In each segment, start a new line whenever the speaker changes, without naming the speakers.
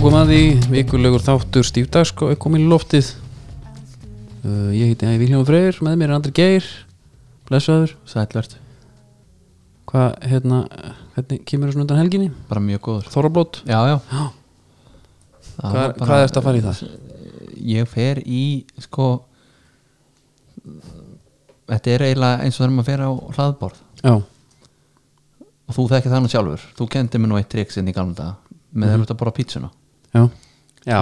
um því, vikulegur þáttur Stíf Dagsko er komin í loftið uh, Ég heiti Ævi Hljóðum Freyr, með mér er Andri Geir Blessaður,
Sællvert,
hvað hérna, hvernig kemur þessu undan helginni?
bara mjög góður
Þorablót,
Já, já
Já.
Það
hvað,
var bara-
hvað er þetta að fara í það?
Ég fer í, sko Þetta er eiginlega eins og þegar maður fer á hlaðborð
Já,
og þú þekkir þannig sjálfur þú kendi mér nú eitt trikk sinni í gamla daga með
Mhm.
þegar þú ert að borða pítsuna
já Já,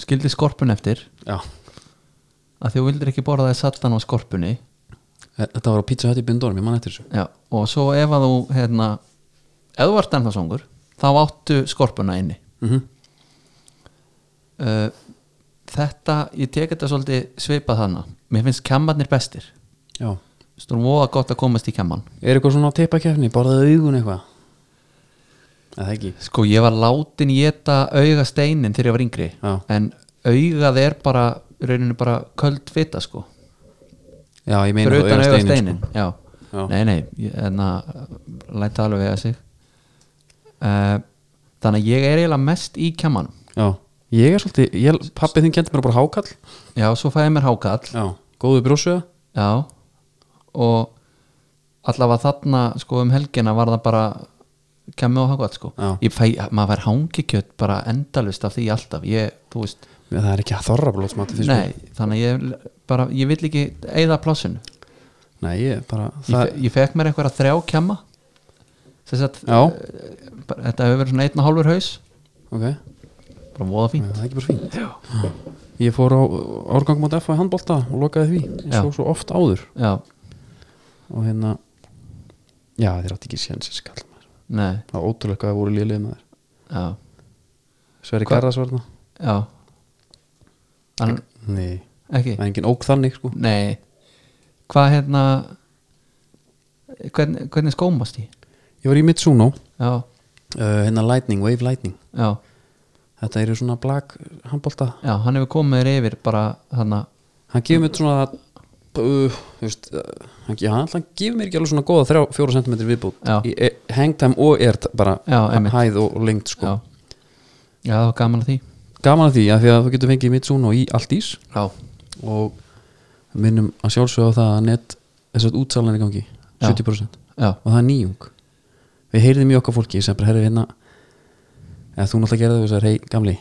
skildi skorpun eftir
já
að því þú vildir ekki borða það sattan á skorpunni
E- Þetta var á Pizza Hut í Bindórum, ég man eftir þessu
já, og svo ef að þú hérna, ef þú ert ennþá songur þá áttu skorpuna inni
mm
uh, þetta, ég tek þetta svolítið svipað þannig, mér finnst kemmarnir bestir
Já,
stórum voða gott að komast í kemman
er eitthvað svona á teipakefni, borðaðu augun eitthvað? Eða ekki?
sko ég var látin éta auga steinin þegar ég var yngri
Já,
en augað er bara í rauninu bara köld fita sko
já ég meina
fyrir utan auga
augasteinin,
steinin
sko.
já.
Já.
nei nei, ég- en að læta alveg vega sig uh, þannig að ég er eiginlega mest í kemman
sko. Já, ég er svolítið, ég, pappi þinn kendi mér að bara hákall
já, svo fæði mér hákall
Já, góðu brjósuða
Já og allavega þarna sko um helgina var það bara kemmi og hangvætt sko
Já.
Ég fæ, maður fær hangikjöt bara endalust af því alltaf ég, þú veist,
Já, það er ekki að þorra blótsmati því sko.
nei þannig að ég bara, ég vill ekki eigða plássinu
sko. Nei, ég bara
ég,
það,
fe- ég fekk mér einhverja þrjá kemma þess að
Já,
bara, þetta hefur verið svona einn og hálfur haus
ok Já,
bara voða fín
Það er ekki bara fínt Já. Ég fór á árgang mót FH í handbolta og lokaði því eins og svo oft áður
já,
og hérna Já, þeir átti ekki séns þessi kall maður
nei,
Það var ótrúlega hvað það voru lélið maður
já,
Sverri
Hva-
Garðars var það
já Þannig,
Nei,
ekki
það er engin ók þannig sko
Nei Hvað hérna Hvernig, hvernig skómast í?
Ég var í Mitsuno, uh,
Já,
hérna Lightning, Wave Lightning
já,
Þetta eru svona blag handbolta
já, hann hefur komið þér yfir bara þarna
hann gefur mér svona uh, þú veist, uh, hann, já, hann hann gefur mér ekki alveg svona góða 3-4 cm viðbútt
Já.
í e, hangtime og er bara
Já, einmitt.
hæð og, og lengt
Já,
sko.
já það var gaman að því
gaman að því að því að þú getur fengið Mitsuno í allt ís
Já,
og minnum að sjálfsögða á það að net þess að útsalan er í gangi
Já.
70%
já,
og það er nýjung við heyrðum í okkar fólki sem bara herri hérna eða þú náttúrulega gerði þú þessar hei gamli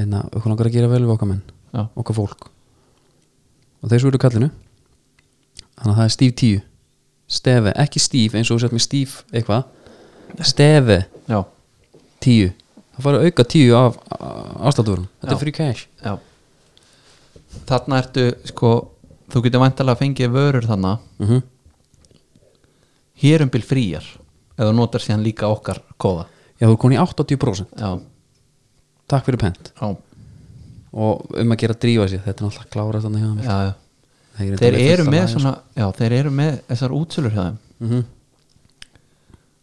hérna okkur langar að gera vel við okkar menn
já,
okkar fólk og þeir svo eru kallinu þannig að það er stíf tíu stefe, ekki stíf eins og þú sett með stíf eitthvað stefe
já,
tíu það fara auka tíu af ástaturum þetta er
Já.
free cash
já Þarna ertu, sko Þú getur væntalega að fengið vörur þarna
mm -hmm.
Hér um bil fríjar Eða notar síðan líka okkar kóða
já þú er komin í 80%
Já,
takk fyrir pent
já,
og um að gera að drífa sér þetta er alltaf klára þannig hjá mér
já, já.
Það er
Þeir
reyndar
eru
fullt af
með
lagum,
svona Já, þeir eru með þessar útsölur hjá þeim
sko. Mhm.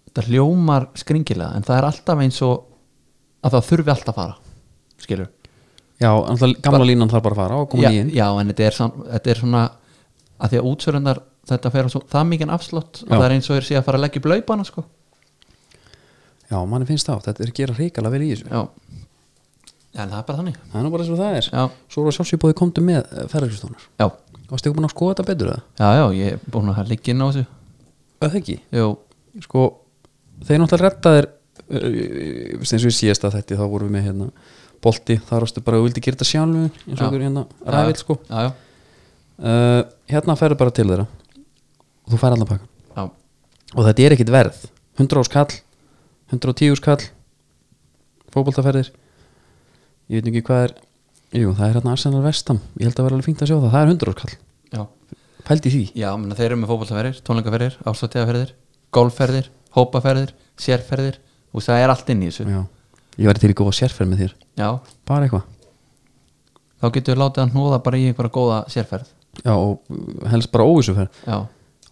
þetta hljómar skringilega en það er alltaf eins og að það þurfi alltaf að fara skilur
já, alltaf gamla línan þarf bara að fara og koma
já,
nýjinn
já, en þetta er, sam- þetta er svona að því að útsörundar þetta fer á svo, það mikið afslott að
Já.
það er eins og þeir sé að fara að leggja upp laupana sko.
já, manni finnst það, þetta er að gera hrikalega vel í þessu
já en það er bara þannig
það er nú bara eins og það er
já,
svo eru að sjálfsög bóði komdu með eh, ferðarkristónar
já,
varstu ekki búin að skoða þetta betur eða?
já, já ég er búin að liggja inn á þessu
Það ekki
Jú,
Sko, þeir náttúrulega rettaðir uh, eins og ég síðast að þetta þá vorum við með hérna bolti, þar ástu bara að þú vildi gera þetta sjálf eins og
Já.
okkur hérna ræðvill sko
já, já,
uh, hérna ferðu bara til þeirra og þú fær allan pakkan
já,
og þetta er ekkit verð, 100 skall 110 skall fótboltaferðir ég veit nú ekki hvað er jú, það er hérna Arsenal Vestam, ég held að vera alveg fínt að sjá það það er 100 skall,
já,
pældi því
já menna, þeir eru með fótboltaferðir, tónleikaferðir, ástóttíðaferðir golfferðir, hópaferðir, sérferðir og það er allt inn í þessu
Já. ég væri til í góða sérferð með þér
já,
bara eitthvað
þá getur við látið hann hnúða bara í einhverja góða sérferð
Já, og uh, helst bara óvissuferð
já,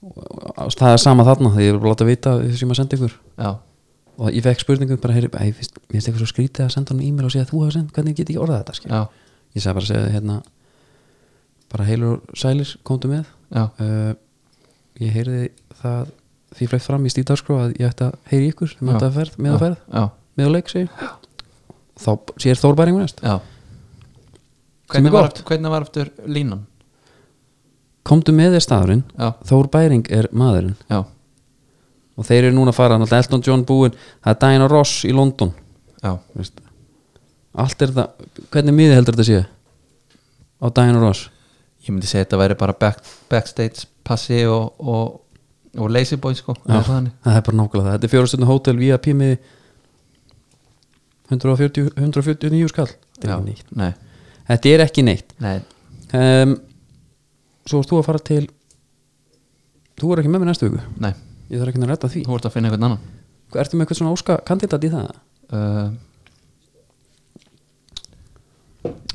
Og það er sama þarna, því ég er bara láta vita þess að ég maður sendi ykkur
já,
og ég fekk spurningum bara, heyri, æ, finnst, mér finnst eitthvað svo skrítið að senda honum e-mail og segja þú hafa send, hvernig get ég orðað þetta skil
já,
ég sagði bara að segja hérna bara heilur og sælir, komdu með
já
uh, ég heyrði það því flægt fram í stífdagskró að ég ætti að heyri ykkur, þegar maður
Já.
þetta ferð, með að ferð
já,
með að leik segir þá sér Þórbæringu næst
já
Sem er
hvernig var,
gott.
aftur, hvernig var aftur línan
komdu með þér staðurinn,
já,
Þórbæring er maðurinn
já,
og þeir eru núna að fara, náttúrulega Elton John búinn það er Diana Ross í London
já
veist. allt er það, hvernig miði heldur þetta sé á Diana Ross
ég myndi segja að þetta væri bara back, backstage passi og, og, og lazy boy sko
Já.
eða þannig.
það er bara nákvæmlega það, þetta er fjórastundu hótel VIP miði 140, 149 skall þetta er
Já,
ekki neitt,
nei,
þetta er ekki neitt
nei,
um, svo varst þú að fara til þú er ekki með mér næstu viku
nei
ég þarf ekki að redda því
þú ert að finna einhvern annan
ertu með eitthvað svona óska kandidat í það
uh,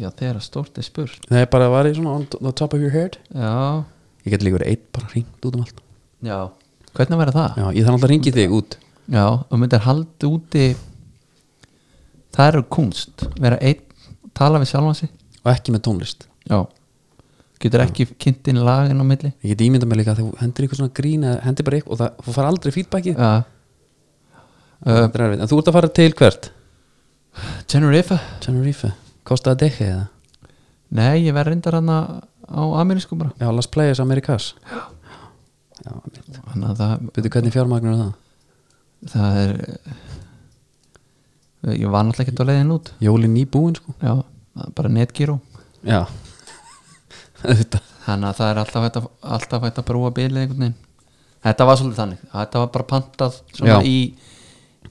já, þegar stórt er spurt
það er bara að vara í svona on the top of your head
já,
ég get líka verið eitt bara hringt út um allt
já hvernig væri það?
já, ég þarf alltaf að ringi þig út
Já, og myndir haldi úti það eru kunst vera einn, tala við sjálfan sig
og ekki með tónlist
Já Getur ekki kynnt inn lagin á milli
ég get ímyndað mér líka að þú hendir eitthvað svona grín eða hendir bara eitthvað og það, þú fara aldrei feedbackið
Já uh,
þetta er erfitt en þú ert að fara til hvert
Tenerife
Tenerife Costa de Deje eða
Nei, ég verð reyndar hana á amerísku bara
já, Las Playas Americas já, mitt
Þannig að það,
veitu hvernig fjármagnur er það
það er eh, Ég var náttúrulega ekki að leiðin út
jólin nýbúin sko
Já, það er bara netgíró
já þetta
Þannig að það er alltaf hægt að, alltaf hægt að brúa bilið einhvern veginn Þetta var svolítið þannig Þetta var bara pantað svona
Já.
í,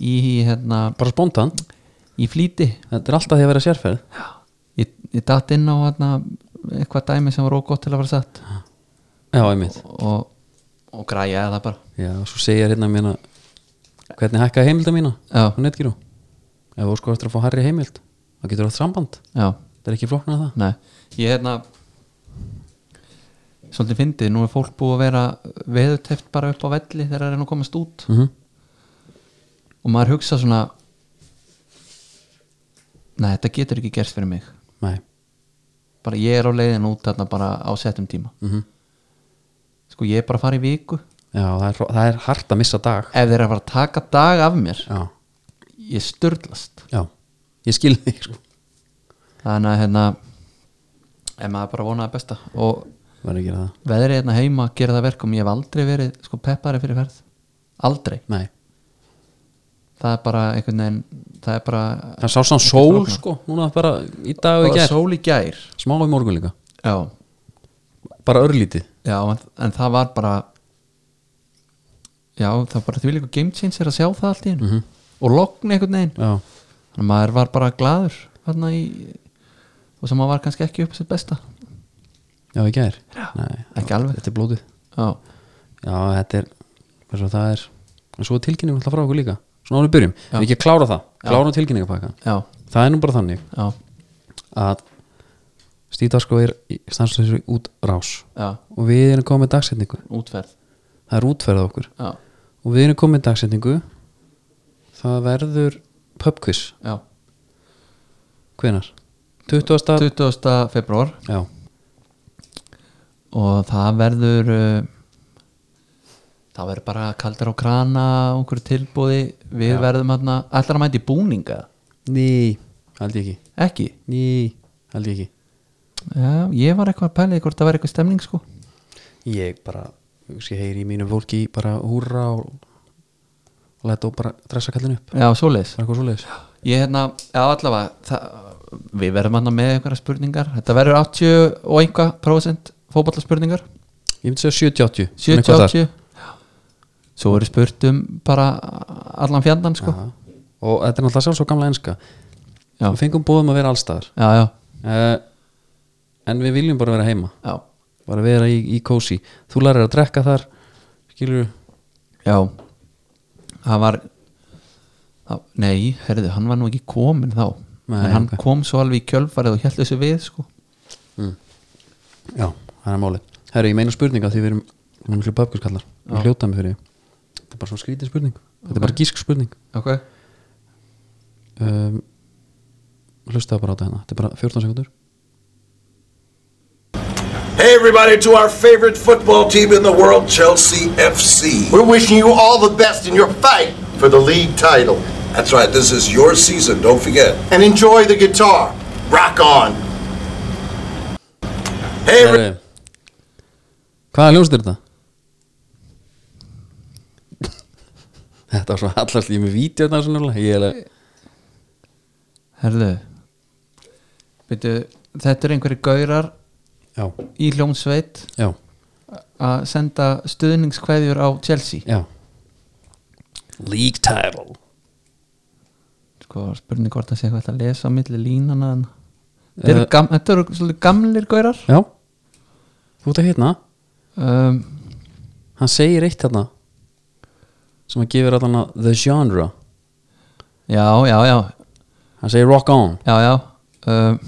í, hérna,
bara spontan
í flýti
þetta er alltaf því að vera sérferð
Ég, ég datt inn á hérna, eitthvað dæmi sem var ógott til að vera sett
já, einmitt
og, og græjaði það bara
já, svo segir hérna mér hvernig hækkaði heimilda mína
Já,
á netgíru ef þú sko eftir að fá harri heimild þá getur þú átt samband
já,
það er ekki floknað það
nei Ég hérna Svolítið fyndið, nú er fólk búið að vera veðuteft bara upp á velli þegar það er nú komast út
mm
og maður hugsa svona Nei, þetta getur ekki gerst fyrir mig
nei
bara ég er á leiðin út þarna bara á settum tíma
mm
sko ég er bara að fara í viku
já, það er, hró- það er hart að missa dag
ef þeir eru að fara að taka dag af mér
já,
ég störlast
já, ég skil þig sko
þannig að hérna ef maður bara vonaði besta og
verður ekki að gera það
veðrið hérna heima gerir það verkum ég hef aldrei verið sko peppari fyrir ferð aldrei,
nei,
það er bara einhvern veginn það er bara,
það sá samt sól sko núna bara í dag og í
bara
gær
sól í gær
smá í morgun líka,
já,
bara örlítið
já en, en það var bara já, það var bara því líka game changer að sjá það allt í hennu
Mhm.
og lokn einhvern veginn
já,
þannig að maður var bara gladur þarna í og sem maður var kannski ekki upp á sitt besta
já, í gær
Já.
nei,
ekki alveg
þetta er blótið
já,
já, þetta er, hversu það er en svo er tilkynningum alltaf frá okkur líka svona áður við byrjum,
Já.
við ekki að klára það klára tilkynningapakkan,
já,
það er nú bara þannig
já,
að stíðarsko er í stanslösu út rás
já
og við erum komið dagsetningu
útferð
það er útferð á okkur
já,
og við erum komið dagsetningu það verður pubquiz
já,
hvenar? 20.
20. februar
Já,
og það verður uh, það verður bara kaldar á krana og einhverju tilbúði við verðum hérna, ætlar að mæta í búninga
ný, held ég ekki
ekki,
ný, held ég ekki
já, ég var eitthvað að pæla í hvort það var eitthvað stemning sko
ég bara, ég heyri í mínu fólki bara húra og og læta og bara dressa kallin upp
já, svoleiðis,
bara eitthvað svoleiðis
ég hérna, já allavega það, við verðum hérna með einhverja spurningar þetta verður 80 og einhvað prósent fótballaspurningar
ég myndi segja 70-80 en eitthvað þar.
70-80 svo verður spurt um bara allan fjandan sko
Já. og þetta er náttúrulega sjálfsög gamla enska
Já.
við fengum bóðum að vera allstaðar
já, já,
uh, en við viljum bara vera heima
já,
bara vera í, í kósi þú lærir að drekka þar skilur
Já Það var það, Nei, herðu, hann var nú ekki komin þá
Nei,
En hann
ok.
kom svo alveg í kjölfarið og held þessu við sko
já, það er máli herru, ég meina spurninga því við erum við erum miklu pöpkurskallar, við hljótaðum fyrir því. þetta er bara svona skrítið spurning þetta er bara gísk spurning
Ok
um, hlustaðu bara á þetta hérna þetta er bara 14 sekundur
Hey, everybody, to our favorite football team in the world, Chelsea FC. We're wishing you all the best in your fight for the league title. That's right, this is your season, don't forget.
and enjoy the guitar. Rock on.
Hey,
Heru, Hvaða ljónst er þetta? þetta var svo hallast Ég er með vídeo þetta svona nefnilega. Ég er alveg-
Herðu Veitu, þetta er einhverju gaurar
Já,
í hljómsveit
já,
að senda stuðningskveðjur á Chelsea
já League title
sko, spurning hvort að sé hvað þetta að lesa á milli línana en- Þetta eru gam- þetta eru svolítið gamlir gaurar
Eh, Já Þú ert að hérna
um,
Hann segir eitt hérna sem að gefur allan að the genre
Já, já, já
Hann segir rock on
Já, já um,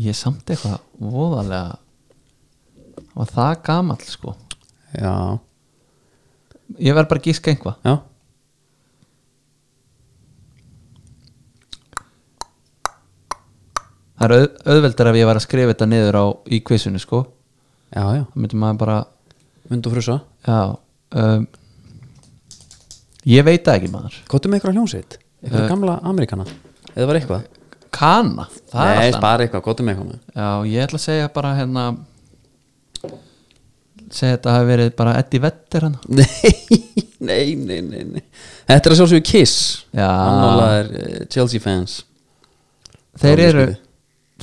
Ég er samt eitthvað voðalega og það gamall sko
Já,
Ég verð bara að gíska einhvað
já
Það er auð, auðveldar ef ég var að skrifa þetta niður á í kvisinu sko
Já, já,
Það myndi maður bara
mynd og frusa
Já um, Ég veit það ekki maður
Kottu með eitthvað hljónsveit
Eh.
Eitthvað gamla Amerikana Eða var eitthvað
Kana, það
Nei,
er alltaf
bara eitthvað, um kottu með eitthvað með
Já, ég ætla að segja bara hérna segja þetta hafi verið bara Eddie hérna. Vetter hann
Nei, nei, nei, nei, nei Þetta er að sjálfsögðu Kiss
Já.
Annálaðir uh, Chelsea fans
Þeir
Já,
eru,
ég skil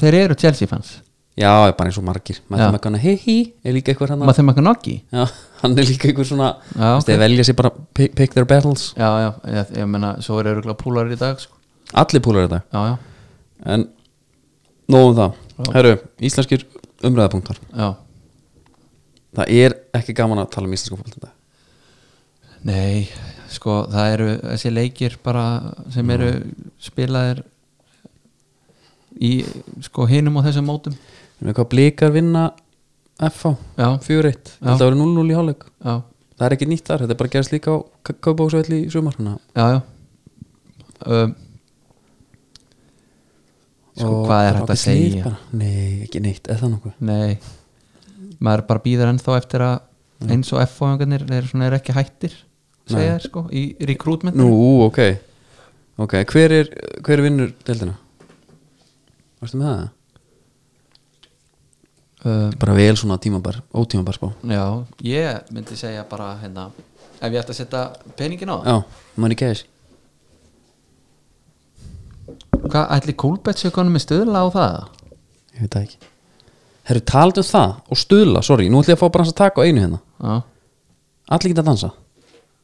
þeir eru Chelsea fans
Já, er bara eins og margir
Já.
Maður kannar hei hei Er líka eitthvað hann
maður þeim ekki nokki
Já, hann er líka eitthvað svona
Já,
Þeir
ok.
okay. velja sér bara pick, pick their battles
Já, já, ég, ég meina, svo eru öruglega púlar í dag sko.
Allir púlar þetta
Já, já,
En nóg um það Herru, íslenskir umræðapunktar
já
Það er ekki gaman að tala um íslensku fólk þetta
Nei, sko, það eru þessi leikir bara sem eru spilaðir í, sko, hinum og þessum mótum
Við hvað blikar vinna FH
Já.
4-1
Já.
Þetta verður 0-0 í hálfleik
Já,
Það er ekki nýtt þar, þetta er bara gerst líka á kaupbóksvelli í sumar hana.
já, já um, Sko,
Og
hvað
bara
er hægt að
ágætis lið
segja?
bara. Nei, ekki neitt, eða það nokkuð
Nei, maður bara býður ennþá eftir
Mm.
að eins og F-fóðingarnir er, svona, er ekki hættir segja þér sko, í rekrútment
Nú, ok, okay. Hver, er, hver vinnur deildina? Varstu með það?
uh,
Bara vel svona tímabar, ótímabar spá
Já, ég myndi segja bara hérna, ef ég ætti að setja peningin á það
Já, money cash
Hvað ætli Kolbett séu konum með stöðla á það?
Ég veit það ekki Herru, talandi um það og stuðla, sorry Nú ætlum ég að fá bara hans að taka á einu hérna
Já,
Allir geta að dansa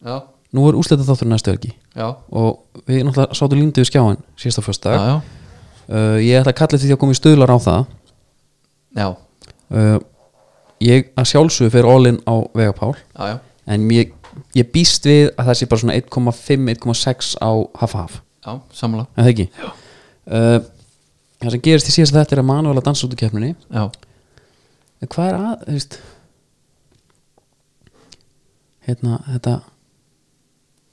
já,
Nú er úsleita þáttur næstu helgi
já,
Og við náttúrulega sátum líndu við skjáin síðasta föstudag
já, já,
uh, Ég ætla að kalla eftir því að koma í stuðlar á það
já,
uh, ég að sjálfsögðu fer all in á Vegapál
já, já,
en ég, ég býst við að það sé bara svona 1,5-1,6 á haf-haf,
já samla
en það ekki uh, það sem gerist í síðast þetta er að manuvel að dansa út í keppninni
Já,
en hvað er að, þú veist hérna, þetta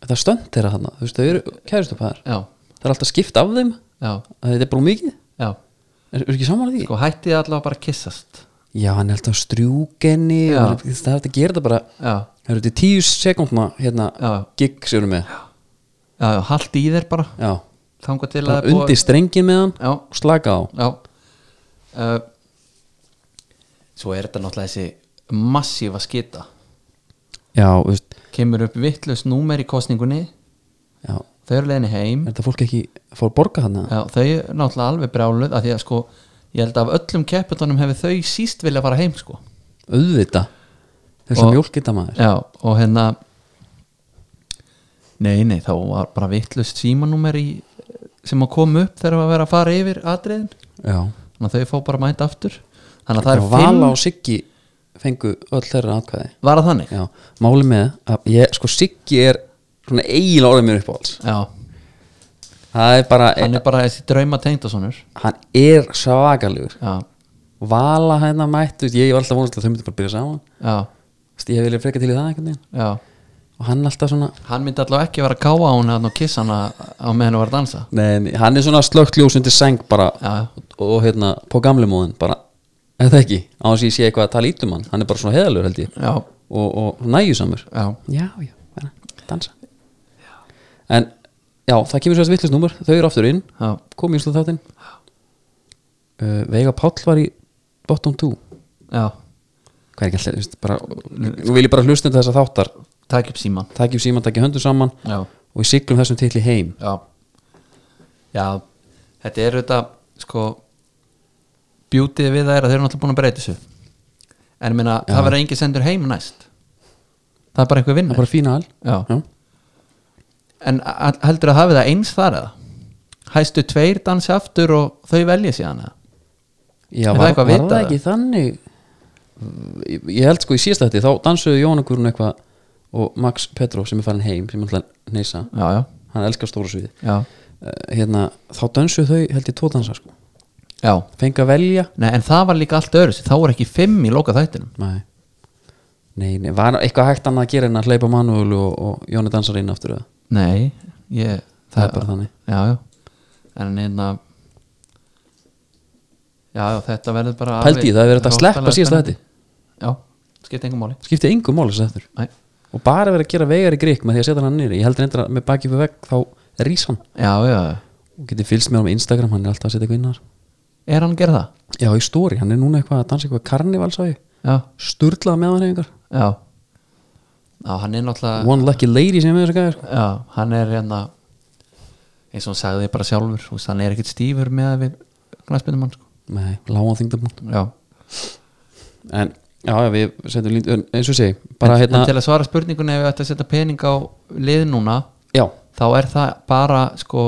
þetta stönd er að þarna, þú veist, þau eru kæristupæðar,
já,
það er alltaf skipt af þeim
já,
að þetta er bara of mikið
já
er, er ekki saman að því?
Sko hættið allavega bara að kissast
já, hann er alltaf strjúkenni
Já.
og það er hægt að gera þetta bara
Já,
Það eru þetta tíu sekundna hérna,
Já.
gig sem við erum með
já, já, haldi í þér bara
já.
Þanga til að
bara
það er búið-
undir strengin með hann
Já.
og slaka á
Já uh, Svo er þetta náttúrulega þessi massífa skita
já, þú veist,
Kemur upp vittlust númer í kostningunni
já, er
Þau eru leiðinni heim
þetta fólk ekki að fá að borga hann
Já, Þau eru náttúrulega alveg brjáluð af Því að sko, ég held að af öllum kepputunum hefur þau síst vilja fara heim sko
auðvita þess
Og-
að mjólk geta maður
Já, og hérna Nei, nei, þá var bara vittlust símanúmer í sem að koma upp þegar að vera að fara yfir atriðin
já.
þannig að þau fá bara að mæta aftur þannig að það
það
er
er
fimm
Vala og Siggi fengu öll þeirra atkvæði
var það þannig
já, máli með að ég, sko Siggi er svona eiginlega orðið mér upp á alls
Já,
það er bara,
hann er bara þessi drauma tengdasonur
hann er svagalegur
já,
Vala hérna mættu, þú veist, ég var alltaf vonast að þau myndi bara byrja saman
já,
Þú veist, ég vilja freka til í það einhvern veginn
já
og hann alltaf svona
hann myndi allavega ekki vera að káa á hún og kissa hana á meðan hún var að dansa
Nei, nei, hann er svona slögt ljós undir seng bara
Já, já.
og, og hérna på gamli móðin bara, eða ekki, á þess að ég sé eitthvað að tala ítum hann, hann er bara svona heðalur held ég
já,
og, og nægjusamur
já,
Já, já, bara, dansa en já, það kemur svo að vittlust númer þau eru aftur inn,
Já.
kom í slúð þáttinn uh, Veiga Páll var í bottom 2
já,
hvað er ekki alltaf, þú veist, bara nú vil ég bara hlusta þess að þáttar
takk upp síman
takjum síman, takjum höndum saman
já,
og við siglum þessum titli heim
já já, þetta er þetta sko bjútið við það er að þeir eru náttúrulega búin að breyta þessu en ég meina, það verður engin sendur heim næst það er bara eitthvað
það
vinna
er bara fína al
Já.
Já.
en a- heldur að hafi það eins þar eða hæstu tveir dansi aftur og þau velja síðan eða
Já,
Er það
var, var
eitthvað
það
vitað það?
ekki þannig Ég- ég held sko í síðast þetta þá dansuðu Jónagurinn eitthvað og Max Petrov sem er farin heim sem er alltaf neysa,
já, já,
hann elskar stóra sviði
já,
Eh, hérna, þá dansuðu þau held ég tvo dansa sko,
já.
fengi að velja
Nei, en það var líka allt öðru þá voru ekki fimm í loka þættinum
nei, nei, nei var eitthvað hægt annað að gera en að hleypa Manuel og, og Jóni dansar inn aftur eða?
nei, ég,
það er bara þannig
já, já. en hérna já, já, þetta verður bara
Pældi í, það er verið að sleppa
rosalega
síðasta
spennandi. já, skipti engum máli
skipti engu máli þess aftur
Nei.
og bara verið að gera vegar í grík með því að setja hann nýri ég heldur endur að með bakið fyrir vegg þá rís hann
já, já, já.
og getið fylgst með hann á Instagram, hann er alltaf að setja eitthvað innar
er hann að gera það?
Já, í stóri, hann er núna eitthvað að dansa eitthvað karnivalsæði
já,
Sturlað meðanhefingar
já já, hann er náttúrulega
One lucky lady sem er þessu gæði sko.
já, hann er hérna eins og hann sagði bara sjálfur þú veist, hann er ekkert stífur með að við knæspindum hann sko.
Nei, lága þingdabun
já,
En, já, já, við setjum línd en Eins og ég segi, bara
en,
hérna
en til að svara spurningunni ef við ætti að setja pening á lið núna
Já,
þá er það bara sko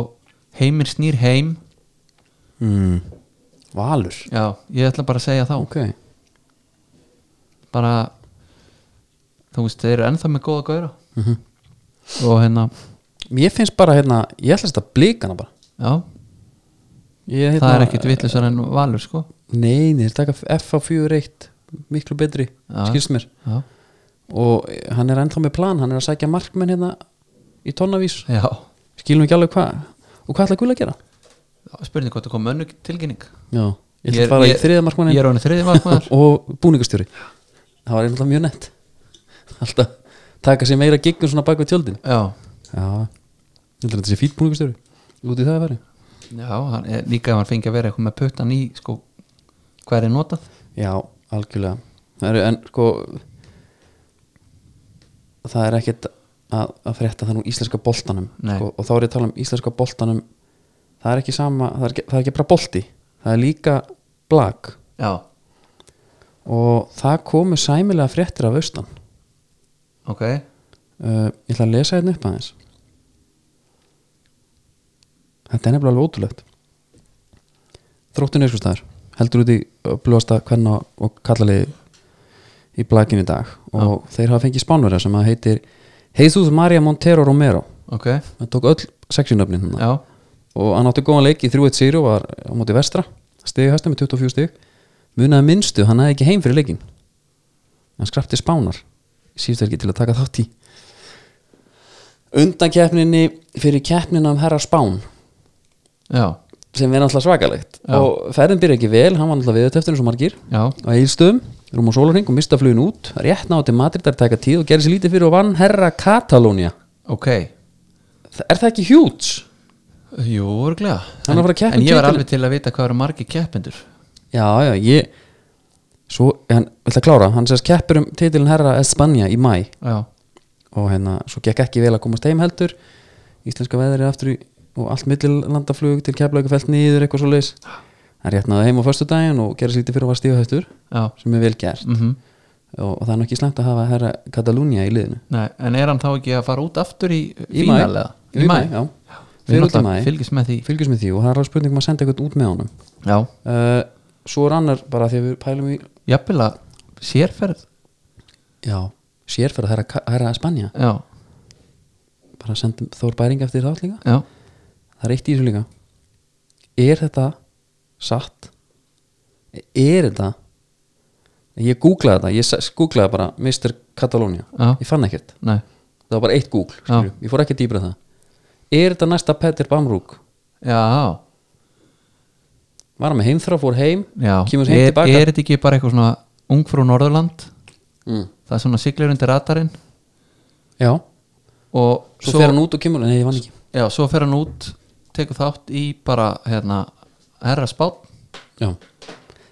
heimir snýr heim
mm. Valur
já, ég ætla bara að segja þá
Ok,
bara þú veist, þeir eru ennþá með góða gauðra
Mhm.
og hérna
mér finnst bara hérna Ég ætla að setja blikana bara
já,
ég, hérna,
það er ekkit vitlusar en valur sko
Nei, nei, þeir taka F á 4-1 Miklu betri,
Já.
skilst mér
já,
Og eh, hann er ennþá með plan, hann er að sækja markmenn hérna Í tonnavís
já.
Skilum ekki alveg hvað Og hvað ætla Gulli að gera?
spurning hvort það kom önnu tilkynning
Já, ég ætla að fara í þriða markmannin
ég er á henni þriði markmann
og búningastjóri það var einhvern mjög nett alltaf taka sér meira giggum svona bak við tjöldin
já,
já, ég heldur að þetta sé fýtt búningastjóri út í það að vera
já hann, er- líka ef hann fengi að vera eitthvað með puttan í sko, hvað er notað
já, algjörlega það eru, en sko það er ekkert að, að frétta þannig úr íslenska boltanum
Nei.
sko, og þá er ég að tala um íslenska boltanum það er ekki sama, það er ekki, það er ekki bara bolti það er líka blag
já,
og það komu sæmilega fréttir af austan
ok
uh, ég ætla að lesa hérna upp aðeins þetta er nefnilega alveg ótrúlegt þróttun neskustæður heldur út í blóðasta hverna og kallaliði í blakinu í dag og þeir hafa fengið spánverða sem að heitir Jesus Maria Montero Romero
ok,
hann tók öll sexinöfnin hann
já,
og hann átti góðan leik í 3-1 sigur og var á móti vestra stegi hæstum með 24 stig munaði minnstu, hann hefði ekki heim fyrir leikin hann skrapti spánar síðust ekki til að taka þátt í undan keppninni fyrir keppnina um herra spán
já,
sem er alltaf svakalegt
Já.
og ferðin byrja ekki vel, hann var alltaf við eftir eins og margir
já
á Egilstöðum, rúm á sólarhing og mista flugin út rétt nátti Madrid að taka tíð og gerði sér lítið fyrir og vann herra Katalónia
ok,
Þa- er það ekki hjúts?
jú, örglega
Hann er að fara að keppa
en
um
ég var
titilinn.
alveg til að vita hvað eru margir keppendur
Já, já, ég Svo, hann, ætla að klára, hann sérst keppur um titilin herra Espanja í mæ
já,
og hérna, svo gekk ekki vel að komast heim heldur Íslenska veðrið aftur í, og allt millilandaflug til keflaugum felt niður eitthvað svo leis hann réttnaði heim á föstudaginn og gerði slítið fyrir að var stífahættur
já
sem er vel gert
mm
og, og það er nú ekki slæmt að hafa herra Katalúnia í liðinu
Nei, en er hann þá ekki að fara út aftur í
Í maí.
fínalega?
Í maí, já. Fer út í
Við náttúrulega
maí.
fylgjast með því
fylgjast með því og það er alveg spurning um að senda eitthvað út með honum
Já,
uh, svo er annar bara því að við pælum í
jafnvel að sérferð
já, sérferð herra, Ka- herra Espanja
Já,
bara sendum Þór Bæring eftir þátt líka
já,
það er eitt í þessu líka er þetta satt er þetta ég googlaði þetta, ég s- googlaði bara Mr. Catalonia,
Já.
ég fann ekkert
nei
það var bara eitt google, skilju, ég fór ekki dýbra það er þetta næsta Petter Bamrúk
Já,
var hann með heimþrá, fór heim
já
kemur heim
Er,
tilbaka
er þetta ekki bara eitthvað svona ung frú Norðurland
mm.
Það er svona siglir undir radarinn
já,
og
svo, fer hann út og kemur nei, ég vann ekki,
já, svo fer hann út tekur þátt í bara hérna, herra spátt
já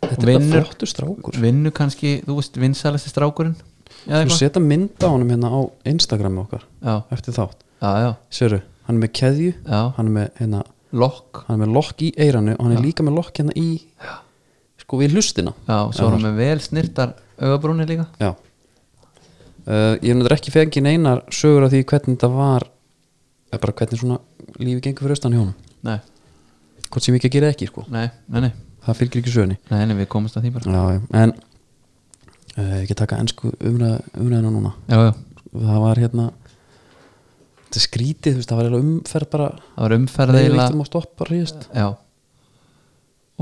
Þetta er bara
Vinnur-
flottur strákur
vinnu kannski, þú veist, vinsælasti strákurinn já,
Þú
eitthvað.
setja mynd á honum hérna á Instagram okkar
já,
eftir þátt
já, já,
Sérðu, hann er með keðju
já,
hann er með, hérna,
lokk
hann er með lokk í eiranu og hann er líka með lokk hérna í sko við hlustina
já,
Já.
svo erum við vel snirtar augabrúni líka
Já uh, Ég er náttúrulega ekki fengið neinar sögur af því hvernig þetta var eða bara hvernig svona lífi gengur fyrir austan hjá honum
nei,
hvort sem ég ekki að gera ekki sko
nei, nei, nei,
það fylgir ekki sögunni
nei, nei við komumst að því bara
Já, já, en uh, ég get taka ensku umræð, umræðina núna
já, já,
það var hérna þetta er skrítið, þú veist, það var eiginlega umferð bara
það var umferð
leiðilegt
eiginlega
um að stoppa ríðast
já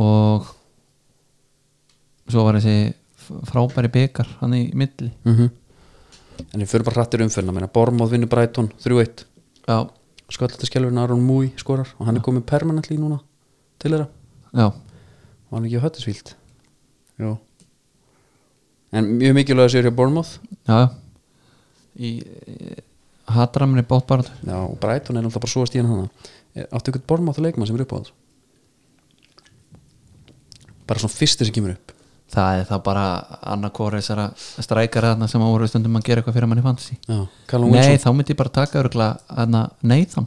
og svo var þessi f- frábæri byggar hann í milli
mm en ég fyrir bara hrattir umferðina meina, Bormóð vinnur Brighton 3-1
já,
sköldlættaskjálfurinn Aron Múi skorar og hann er komið permanently núna til þeirra
já,
var hann ekki á höttisvíld já en mjög mikilvæg að sér hjá Bournemouth
já já. í, í hatramri bóttbarð
já, og Brighton er náttúrulega bara svo að stíðan hana Eh, áttu ykkur Bournemouth leikmann sem er upp á þess bara svona fyrstir sem kemur upp
það er það bara annarkóri þessara strækara þarna sem voru stundum að gera eitthvað fyrir manni fantasy
já, Callum
nei,
Wilson,
þá myndi ég bara taka örgla hana, Nathan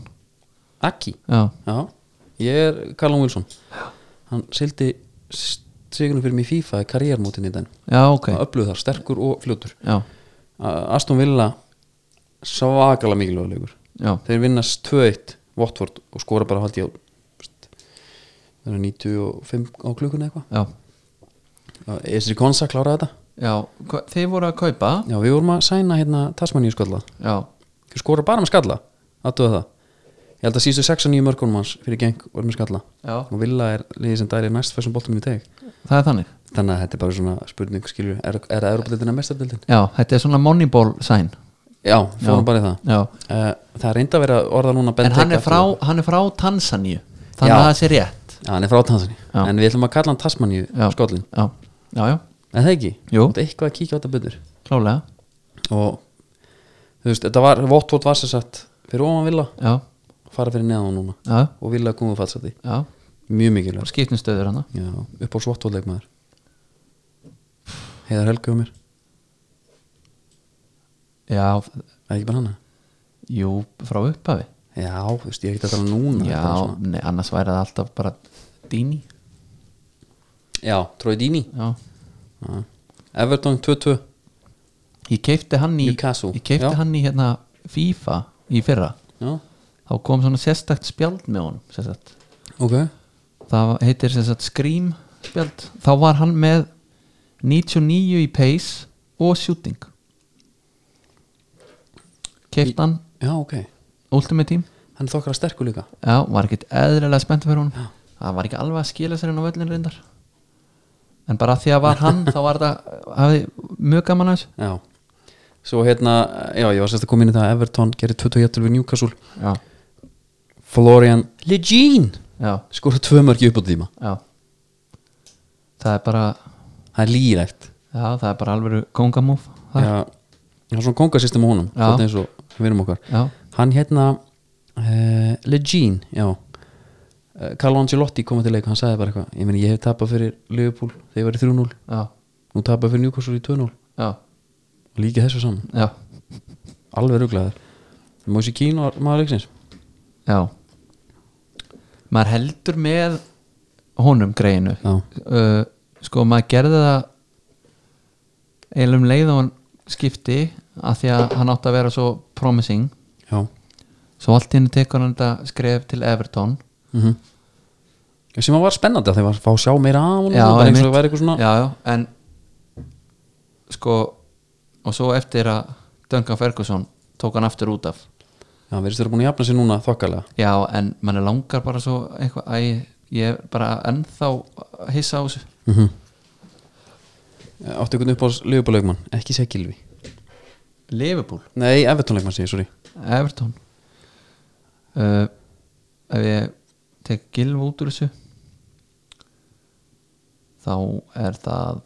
Aki
já,
já, ég er Callum Wilson hann sildi sigurinn fyrir mig í FIFA í karriérmótin í den
já, ok
það upplöðu þar, sterkur og fljótur
já,
A- Aston Villa svakalega mikilvæg leikur
já,
þeir vinnast 2-1 Watford og skora bara haldi á veist, það eru 95 á klukkuna eitthvað
já
Esri Konsa kláraði þetta
já, hva- þið voru að kaupa
já við vorum að sæna hérna Tasmaníu skalla
já,
þeir skora bara með skalla aðtöða það ég held að sístu 6 og 9 mörkunum hans fyrir geng og með skalla
Já.
og Villa er liðið sem dæri næst fæsum boltum í teg
það er þannig
þannig að þetta er bara svona spurning skilju er, er það Europadeildin að mestardildin?
já, þetta er svona moneyball sign
Já, fórum bara í það
já,
uh, það er reynda að vera orða núna Ben
en hann
Teke
er, frá,
aftur.
hann er frá Tansaníu þannig
Já.
að það sé rétt
Já, hann er frá Tansaníu
Já.
en við ætlum að kalla hann Tasmaníu
já,
skollin
já, já, já,
En það ekki?
Jú.
Þetta er eitthvað að kíkja á þetta betur
klálega
Og þú veist, þetta var Votvot var sér sagt fyrir ofan Villa
já,
fara fyrir neðan núna
já,
og Villa komið fatsæti
já,
Mjög mikilvægt
skiptum stöður hann
Já, upp á Votvot leikmaður Heiðar Helgi og mér
já,
Það er ekki bara hana?
jú, frá upphafi
Já, þú veist, ég er ekki að tala um núna
já,
þetta er svona-
nei, annars væri það alltaf bara Dini
Já Trói Dini
já.
Já. Everton 2-2
ég keipti hann í
Newcastle,
ég keipti
já.
hann í hérna FIFA í fyrra
Já,
þá kom svona sérstakt spjald með honum sérstakt.
ok
það heitir sérstakt Scream spjald þá var hann með 99 í pace og shooting keipti hann
Já, ok
Ultimate Team
Hann er þokkar að sterku líka
já, var ekkit eðlilega spennt fyrir honum það var ekki alveg að skila sér inn á völlin reyndar en bara af því að var hann þá var þetta, hafði mjög gaman að þessu
Já Svo hérna, já, ég var sérst að koma inn í það að Everton gerir 21 við Newcastle
já,
Florian Lejean
já,
skora tvö mörki upp á tíma
já það er bara
það er lírægt
já, það er bara alveg kongamúf það,
Já, það er svona kongasystem á honum
Já.
svolítið eins og vinum okkar
já,
hann hérna uh, Lejean, já uh, Carlo Ancelotti komið til leik hann sagði bara eitthvað, ég meni ég hef tapað fyrir Liverpool þegar ég var í 3-0,
já,
nú tapað fyrir Newcastle í 2-0
já,
og líka þessu saman,
já,
alveg ruglaður Moise Keane var maður leiksins
já. maður heldur með honum greinu
Já.
uh, sko maður gerði það eiginlega um leið og hann skipti að því að hann átti að vera svo promising
Já,
svo allt í henni tekur hann þetta skref til Everton
mhm mm sem var spennandi að þeir var að fá að sjá meira af honum,
Já,
bara eins og
einmitt.
það væri eitthvað svona
já, já, en sko og svo eftir að Duncan Ferguson tók hann aftur út af
Já, við erum stöður búin að jafna sér núna þokkalega
já, en mann er langar bara svo eitthvað, æ, ég er bara ennþá að hissa á þessu
mm -hmm. Áttu Eh, einhvern upp á Liverpool-leikmann, ekki segja Gilvi
Liverpool,
Nei, Everton-leikmann sé, ég, sorry
Everton uh, ef ég tek gilv út úr þessu þá er það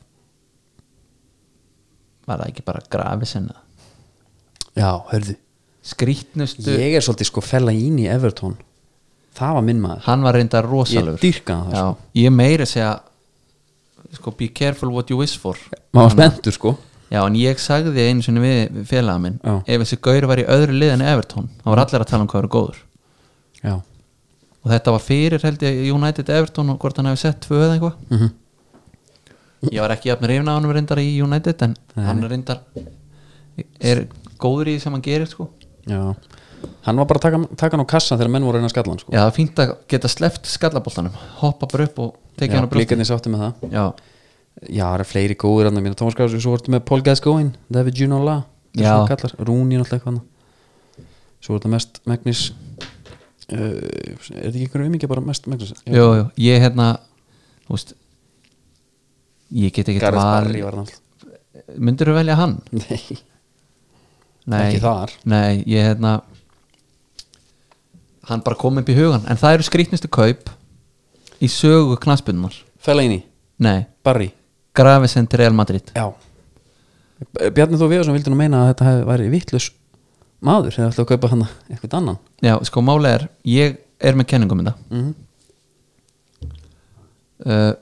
var það ekki bara grafið sinna
Já, hörðu
skrýtnustu
Ég er svolítið sko fella ín í Everton Það var minn maður
hann var reyndar rosalur
Ég sko. dýrkaði það,
Já, ég meira segja sko, be careful what you wish for
Maður var spenntur sko
já, en ég sagði einu sinni við, við félaga minn
Já.
ef þessi gaur var í öðru liðan Everton þá var allir að tala um hvað eru góður
Já,
og þetta var fyrir held ég United Everton og hvort hann hefði sett tvö eða eitthvað
Mhm.
ég var ekki jafn reyfna á hann reyndar í United en hann reyndar er góður í því sem hann gerir sko
já Hann var bara að taka, taka hann á kassa þegar menn voru að reyna að skalla hann sko
já það er fínt að geta sleppt skallaboltanum hoppa bara upp og tekið hann á brjóstin
Blíkarnir sátti með það
já,
Já, það eru fleiri góðir annar mínu Tómas Gráðs Svo ertu með Paul Gascoigne, David Ginola
Já.
Rúni náttúrulega eitthvað annað. Svo er þetta mest Magnus uh, Er þetta ekki einhverjum umíkja bara mest Magnus?
jú, jú, ég hérna þú veist ég get ekki
Gareth Barry var hann alltaf
myndir þú velja hann?
Nei,
Nei,
Ekki þar.
Nei, ég hérna Hann bara kom upp í hugan En það eru skrýtnustu kaup Í sögu knaspunnar
Fellaini,
Nei,
Barry
Gravesen til Real Madrid
Já Bjarni Þó Viðarsson vildi nú meina að þetta hefði væri vittlus maður hefði alltaf að kaupa hann eitthvað annan
Já, sko máli er Ég er með kenningum þetta mm Eh,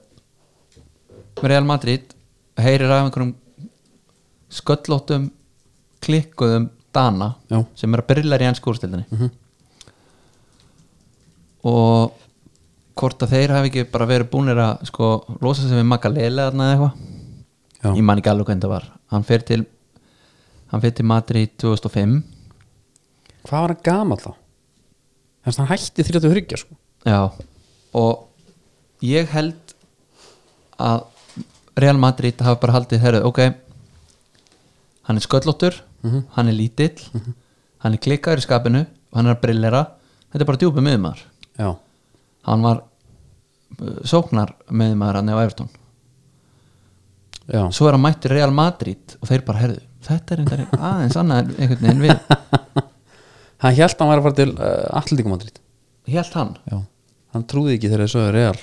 Real Madrid Heyrir af einhverjum Sköllóttum Klikkuðum Dana
Já. Mhm.
Sem er að byrlar í enn skúrstildinni Og Hvort að þeir hafi ekki bara verið búnir að Sko, losa sig við Magalele Þarna eða eitthvað
Já.
Ég man ekki alveg hvernig það var Hann fer til Hann fer til Madrid 2005
Hvað var hann gamal þá? Þannig að hann hætti 33 sko.
Já og ég held að Real Madrid hafa bara haldið herrið, ok hann er sköllóttur hann er lítill hann er klikkaður í skapinu hann er að brillera þetta er bara djúpi miðumar
Já,
hann var uh, sóknar miðumar hann á Evertón
já
svo er hann mættur Real Madrid og þeir bara herðu þetta er einhvern veginn aðeins annað einhvern veginn við
Hann hélt að hann væri að fara til uh, Atlético Madrid
helt hann
Já Hann trúði ekki þegar þessu er real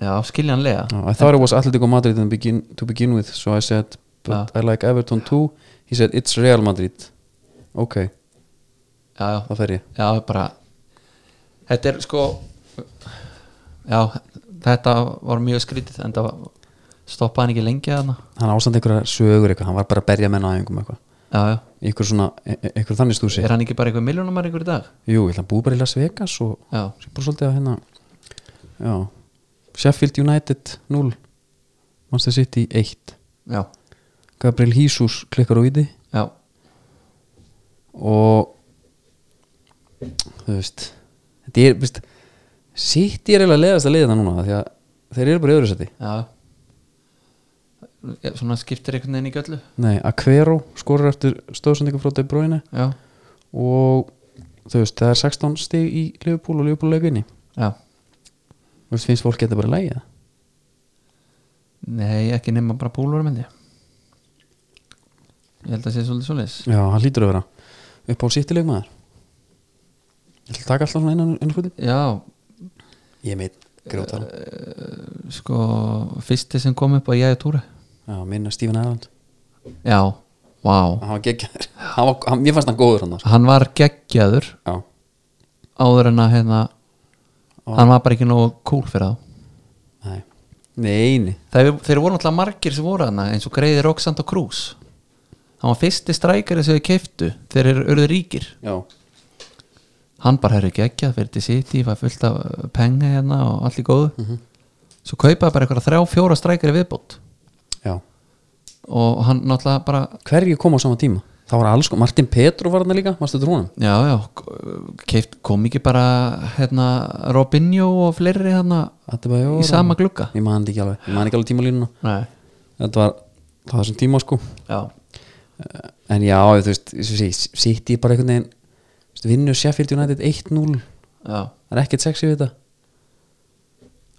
já skiljanlega
I thought it was Atlético Madrid in begin, to begin with so I said but I like Everton too he said it's Real Madrid ok,
já, já.
það fer ég
Já, bara Þetta er sko Já, þetta var mjög skrítið en það stoppaði hann ekki lengi þarna
hann ásandi einhverja sögur eitthvað hann var bara að berja menna á einhverjum eitthvað
Já, já,
í einhver svona, e- e- einhver þannig stúsi
er hann ekki bara eitthvað miljónumar einhver í dag?
Jú, ég ætla að búi bara í Las Vegas og
Já,
sem bara svolítið að hérna Já, Sheffield United 0 Manchester City 1
já,
Gabriel Jesus klikkar á íti
já
og þú veist þetta er, veist City er eiginlega leiðast að leiða það núna af því að þeir eru bara í öðru seti
Já Já, Svona skiptir einhvern veginn í göllu
Nei, Aquero skorur eftir stóðsendingu frá De Bruyne
Já,
og þú veist, það er 16 stig í Liverpool og Liverpool leikunni
já
Þú veist, finnst fólk geta bara að lægja
Nei, ekki nema bara búlur myndi ég. Ég held að sé svolítið svolítið
Já, hann hlýtur að vera upp á sýttileg maður Ég ætla að taka alltaf svona innan innan skutin
Já,
Ég meit gróta hann
sko fyrsti sem kom upp á Jæja Túri
Já, minna Stephen Ireland
Já, vá
Hann var geggjaður Hann var- hann- Mér fannst hann góður hann þar.
Hann var geggjaður
Já,
áður en að hérna, hann var bara ekki nógu cool fyrir þá
nei Nei, nei
þeir, þeir voru náttúrulega margir sem voru hann eins og greiði Roxanne og Cruz hann var fyrsti strækari sem þau keiftu þeir eru urðu ríkir
Já,
hann bara herri geggjað fyrir til City var fullt af uh, penga hérna og allt í góðu svo kaupaði bara eitthvað þrjá fjóra strækari viðbót
já
og hann náttúrulega bara
Hverju kom á sama tíma? Það var alls sko Martin Petru var hann líka, varstu trónum?
já já, keift, kom ekki bara hérna Robinho og fleiri hérna
Þetta bara, jó
í sama glugga
Ég man þetta ekki alveg Ég man ekki alveg tímalínuna
nei,
Þetta var það var þessum tíma sko Eh,
já,
En já, þú veist, sitt ég bara einhvern veginn þú veist, Vinnu Sheffield United 1-0
já
Það er ekkert sexy við þetta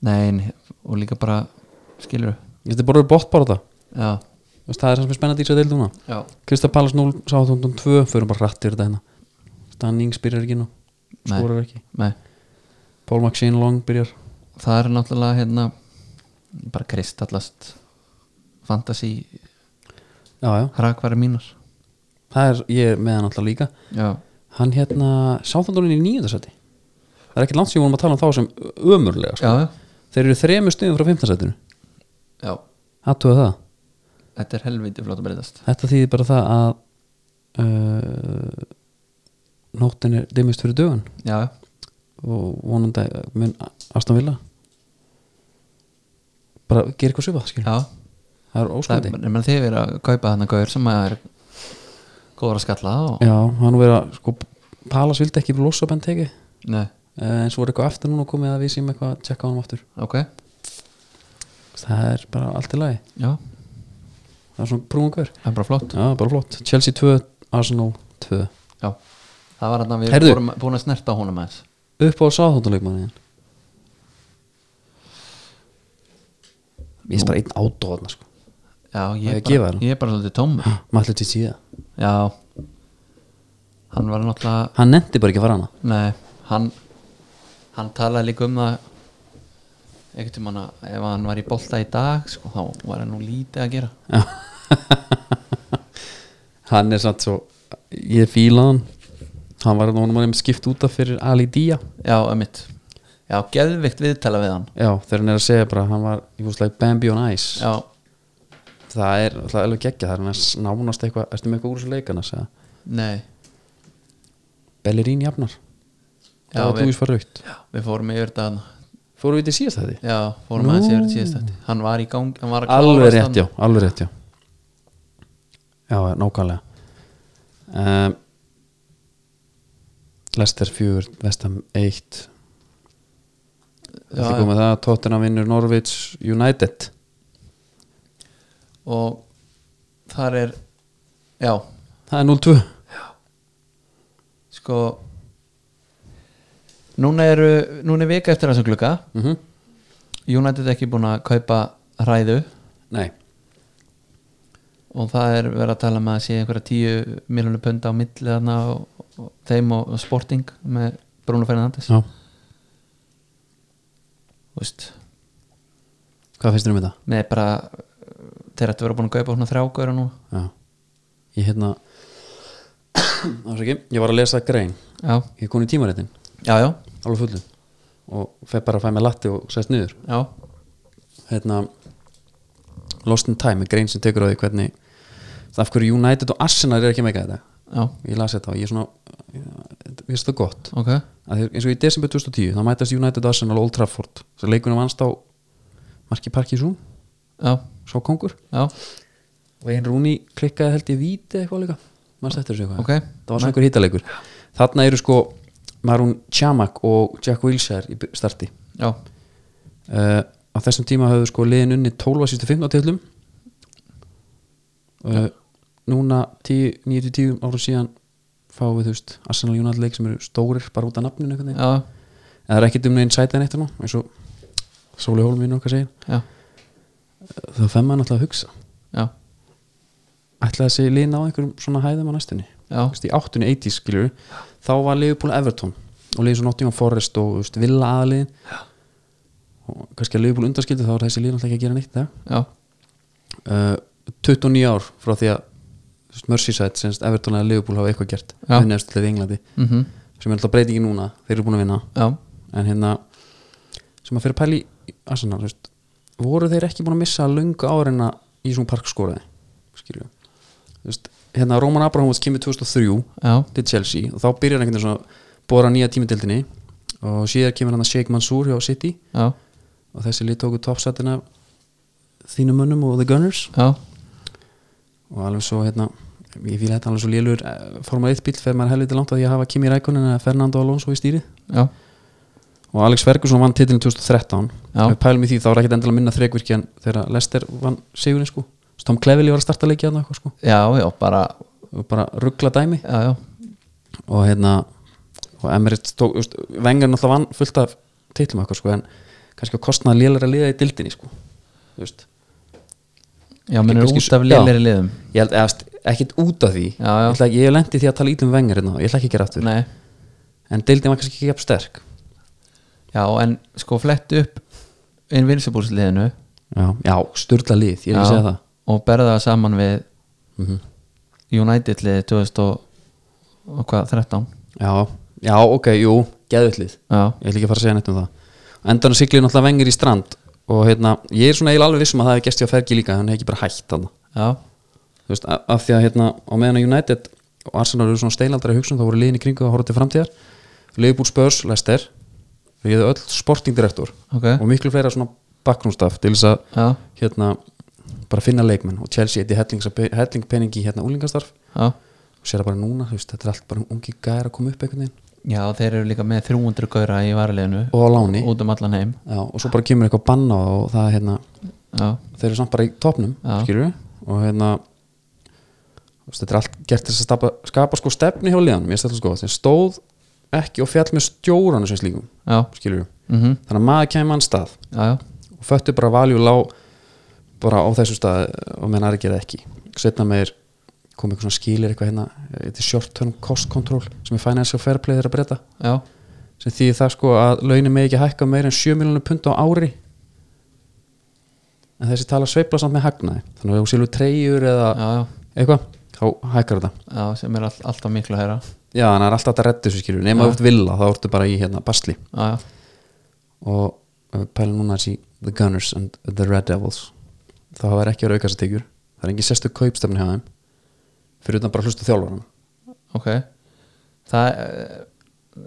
Nei, nei, og líka bara skilur
Þetta er bara bótt bara þetta
já,
Þú veist, Það er það sem er spennandi í þessu deil núna
já,
Krista Pallas 0, Sáþóndun 2 Förum bara hratt yfir þetta hérna Stannings byrjar ekki nú
Nei.
Skorar ekki
nei
Paul Maxine Long byrjar
það er náttúrulega hérna bara kristallast fantasi
Já, já
hrakværi mínar
Það er ég er með hann alltaf líka
já,
hann hérna sáþandónin í nýjöndasæti það er ekkert langt sem við vorum að tala um þá sem ömurlega sko.
já, já,
þeir eru þremur stuðum frá 15 sætinu
já
aðtuga það
þetta er helviti flott að breytast
Þetta þýðir bara það að uh, nóttin er dimmist fyrir dögun
já, já,
og vonandi að mun Aston Villa bara gera eitthvað svipað skilur
já
það er
það
óskandi
er meðan þið verið að kaupa þannig gaur sem að er góður að skalla og
Já, hann verið að sko Palas vildi ekki losa eh, benn teki
nei,
en svo er eitthvað aftur núna komið að við séum eitthvað að tjekka á hann aftur
ok,
það er bara allt í lagi
já
það er svona brúin hver
það er bara flott
Já, bara flott Chelsea 2, Arsenal 2
já, það var þarna við
Heyrðu.
vorum búin að snerta á honum aðeins
upp á hérna. sáþóttuleikmannin Ég er bara einn ádóðna sko Á
já,
ég
ég er
að gefa þér
bara,
hann?
ég er bara svolítið tómur
Mættu til síða
já, hann var náttúrulega
Hann nefndi bara ekki að fara hana
Nei, hann hann talaði líka um það einhvern tímann að ef hann var í bolta í dag sko, þá var hann nú lítið að gera
Hann er satt svo Ég fíla hann Hann var nú hann skipt út af fyrir Ali Día
Já, ömmitt Já, geðvikt viðtala við hann
Já, þegar hann er að segja bara að Hann var, ég fúst like Bambi on Ice
Já,
Það er alltaf alveg geggja Það er hann að nánast eitthvað Erstu með eitthvað úr þessu leikana segja
nei
Bellerín jafnar
Já,
Já, það var
við-
dúis fara raukt
Já, Við fórum yfir þetta hann
Fóru við til síðast þetta
Já, fórum
Nú.
aðeins yfir þetta síðast þetta Hann var í gang hann var að
alveg
klárast
rétt,
þarna.
já, alveg rétt, já já, nákvæmlega um, Lester 4 Vestam 1
Já,
þetta komið það, Tottenham vinnur Norwich United
Og þar er Já,
það er 0-2
sko Núna eru Núna er vika eftir þessum glugga
mm
United er ekki búin að kaupa hræðu
nei,
og það er verið að tala með að sé einhverja tíu miljónu punda á milli þarna og, og þeim og, og sporting með Bruno Fernandes
já,
Þú veist,
hvað finnst þér um þetta?
með bara þeir ættu að vera búin að kaupa svona þrjágöra nú
já, ég hérna ásaki, ég var að lesa grein
já,
ég er komin í tímaritin,
já, já,
alveg fullu og fer bara að fæ mig latti og sest niður
já
hérna Lost in Time er grein sem tekur á því hvernig af hverju United og Arsenal er ekki að meika þetta
já,
ég las þetta og ég er svona ég finnst það gott
ok,
að þeir, eins og í desember 2010 þá mætast United og Arsenal á Old Trafford svo leikunum vannst á Marki Parkinsson
já,
svo kongur
já
og einn Rúni klikkaði held ég víti eitthvað líka mannst eftir þessu eitthvað
Ok.
það var svona einhver hýtaleikur þarna eru sko Marun Chamak og Jack Wilshere í by- starti
já,
uh, á þessum tíma höfðu sko liðin unni 12 að sístu 15 tillum uh, núna 10 9-10 ára síðan fáum við þú veist Arsenal United leik sem eru stórir bara út af nafninu einhvern veginn
já,
en það er ekkit um neginn sætið en eitt nú eins og Sóli Hólm minn okkar segir
já,
það fer maður náttúrulega að hugsa
já,
ætlaði að segja liðin á einhverjum svona hæðum á næstunni
já,
Þú veist, í áttunni 80 skilur þá var Liverpool Everton og liðið svo Nottingham Forest og þú veist, Villa aðliðin og kannski að Liverpool undaskildi þá er þessi lið náttúrulega ekki að gera neitt í dag
já,
uh, 29 ár frá því að þú veist, Merseyside, semst Everton eða Liverpool hafa eitthvað gert,
Já.
unni eftir í Englandi
mhm,
sem er alltaf breytingi núna, þeir eru búin að vinna
já
en hérna sem að fyrir pæli í Arsenal þú veist, voru þeir ekki búin að missa löngu áreina í svona parkskóraði skilju veist, hérna Roman Abramovits kemur 2003
já,
til Chelsea og þá byrjar einhvern veginn svona bóra nýja tímatildinni og síðar kemur hann að Sheikh Mansour hjá City
já,
og þessi lið tóku toppsætina þínum mönnum og The Gunners
já
og alveg svo hérna ég fíla þetta alveg svo lélur eh, Formule 1 bíl þegar maður helviti langt að því að hafa Kimi Rækonin eða Fernando Alonso í stýri
já,
og Alex Ferguson vann titilin 2013
Já.
ef við pælum í því þá er ekkert endilega minna þrekvirki en þegar Lester vann sigurinn sko Svo Tom Clevely var að starta leikið hann eitthvað sko
já, já, bara
og bara ruggla dæmi
já, já,
og hérna og Emirates tók, þú veist, vengar náttúrulega vann fullt af titlum eitthvað sko en kannski að kostnaða lélæra liða í dildinni sko þú veist
já, minn er
kannski
út
svo-
af
já.
lélegri liðum
ég held eðast, ekkit út af því
Já,
Ég,
já.
ætla, ekki- ég lendi því að tala ítlum vengar hérna og ég ætla ekki að gera aftur
nei,
en deildin var kannski ekki jafn sterk
já, en sko flett upp einn vinsabúrsliðinu
já, já sturla lið, ég er ekki að
Já,
segja það
og berða það saman við
mm
United liðið 2013
já, já, ok, jú, geðvillið
Já.
ég ætla ekki að fara að segja neitt um það endan að sigli náttúrulega vengir í strand og hérna, ég er svona eiginlega alveg vissum að það hefði gestið á Fergi líka, hann hefði ekki bara hætt hann
Já,
þú veist, af- af því að hérna á meðan að United og Arsenal eru svona steinaldra í hugsun þá voru liðin í kringu að horfa til framtíðar Leifbúl Spurs, Lester við hefðu öll sportingdirektor
Ok.
og miklu fleira svona bakgrúnstaf til þess að
Já.
hérna bara finna leikmenn og Chelsea eitthi helling peningi í hérna úlingastarf
já
og sér það bara núna, þú veist, þetta er allt bara ungi gæra að koma upp einhvern veginn
Já, þeir eru líka með 300 gauðra í varleginu
og á láni
Út um allan heim
Já, og svo bara kemur eitthvað bann á það og það er hérna,
Já,
þeir eru samt bara í topnum
Já.
skilur við og hérna þú veist, þetta er allt gert til þess að skapa, skapa sko stefni hjá liðan, mér stættu sko þeir stóð ekki og fjall með stjóranu sem slíkum,
já,
skilur við
mhm,
þannig að maður kemur mann stað
já, já
og föttu bara valjú lá bara á þessu stað og menn aðri gera ekki setna meir kom eitthvað svona skilir eitthvað hérna, þetta er short term cost control sem er financial fair play þeirra breyta
Já,
sem því það sko að launin með ekki hækka meira en 7 miljonum pund á ári en þessi tala sveifla samt með hagnaði þannig að ef þú sílu treyjur eða
já, já,
eitthvað, þá hækkar þetta
já sem er all, alltaf miklu að heyra
já, þannig að það er alltaf þetta reddu sem skilur nema þú ert villa, þá ertu bara í hérna basli
Já, já,
og ef við pælum núna þessi The Gunners and The Red Devils þá hafa þær ekki verið aukast að tegjur það er engin sérstu kaupstefni hjá þeim fyrir utan bara hlustu þjálfarana
ok Það, eh,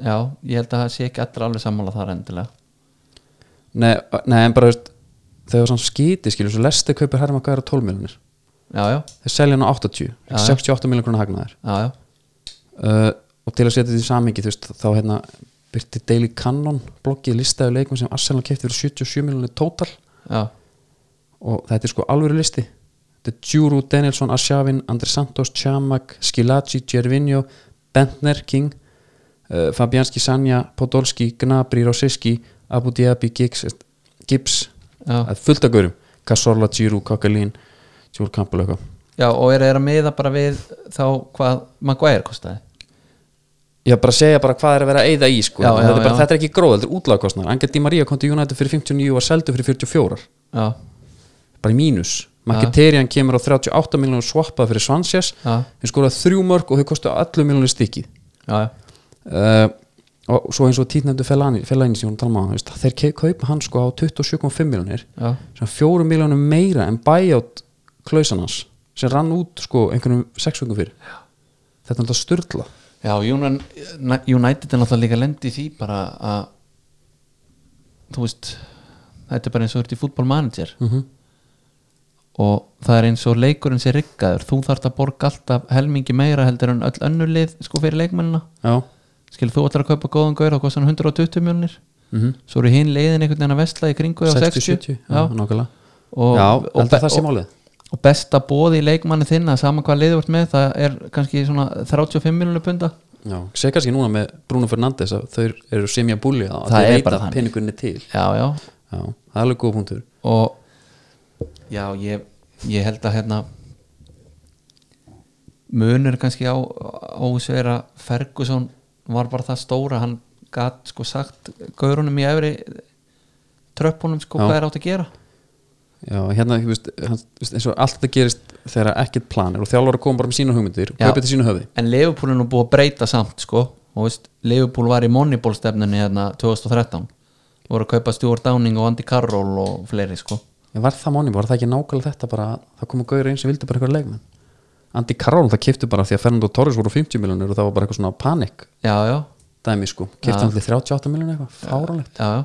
já, ég held að það sé ekki allir alveg sammála þar endilega
nei, nei, en bara, þú veist þegar það er svona skíti, skilur, svo lesti kaupir herma gæra 12 miljonir
Já, já,
þeir selja hann á 80 68 miljón krónar hagnaðir
já, já,
uh, og til að setja þetta í samingi veist, þá hérna byrti Daily Cannon bloggið listaðu leikum sem Arsenal kefti fyrir 77 miljónir tótal
já,
og þetta er sko alvöru listi þetta er Djuru, Danielsson, Ashavin, Andri Santos Chamak, Skilaci, Gervinho Bentner, King uh, Fabianski, Sanja, Podolski Gnabri, Rossiski, Abu Dhabi Giggs, eh, Gibbs
Já.
Það er fullt af gaurum, Casorla, Djuru, Kakalín Djúr Kampel eitthvað
já Og er þeir að miða bara við þá hvað Maguire kostaði
Já, bara segja bara hvað er að vera að eyða í sko. já,
Já, já,
þetta, er bara,
já.
þetta er ekki gróð, þetta er útlagkostnar Angel Di Maria kom til United fyrir 59 og var seldu fyrir 44
Já,
bara í mínus Maketerian kemur á 38 miljonum swappað fyrir Svansjæs
Já.
þeir skoraði þrjú mörg og þau kostu 11 miljonum stikki
já, já,
uh, og svo eins og títnefndu Fellaini Fellaini sem hún talma á, um veist, þeir ke- kaupa hann sko á 27,5 miljonir
já,
sem er 4 miljonum meira en buyout klausan hans sem rann út sko einhvernum 6 vöngum fyrir já. þetta er alltaf styrla
já Union- United er náttúrulega líka lendi því bara að þú veist þetta er bara eins og þú ert í fútbolmanager
Mhm.
og það er eins og leikurinn sé riggaður þú þarft að borga alltaf helmingi meira heldur en öll önnur lið sko fyrir leikmennina
já,
skil þú ætlar að kaupa góðan gaur þá kostar hann 120 miljonir
Mhm.
svo eru hinn leiðin einhvern veginn að vestla í kringu á
60-70 já,
já,
nákvæmlega
og,
já,
og,
heldur það sé
og,
málið
og besta bóði í leikmanni þinna saman hvað leiður vart með það er kannski svona 35 miljonir punda
já, sé kannski núna með Bruno Fernandes að þau eru semja búli að
Það
þau
er
veita
bara þannig.
peningunni til
já, já,
já, það er alveg góð punktur
og já, ég, ég held að hérna munur kannski á, á þessu er að Ferguson var bara það stóra hann gat sko sagt gaurunum í efri tröppunum sko
Já.
hvað er átt að gera
já, hérna, þú veist, hann, þú veist, eins og allt það gerist þegar ekkert plan er og þjálfur kom bara með sína hugmyndir og
Já.
kaupið til sína höfði
en Leifupúl er nú búið að breyta samt sko og veist, Leifupúl var í Moneyball stefnunni hérna 2013 voru að kaupa Stuart Downing og Andy Carroll og fleiri sko
en var það máni, var það ekki nákvæmlega þetta bara að það komu gauður eins sem vildi bara eitthvað leikmenn Andy Carroll það kiptu bara því að Fernando Torres voru 50 miljonir og það var bara eitthvað svona panik
já, já,
dæmi sko, kiptu
Já.
hann til 38 miljonir eitthvað, fáránlegt
já, já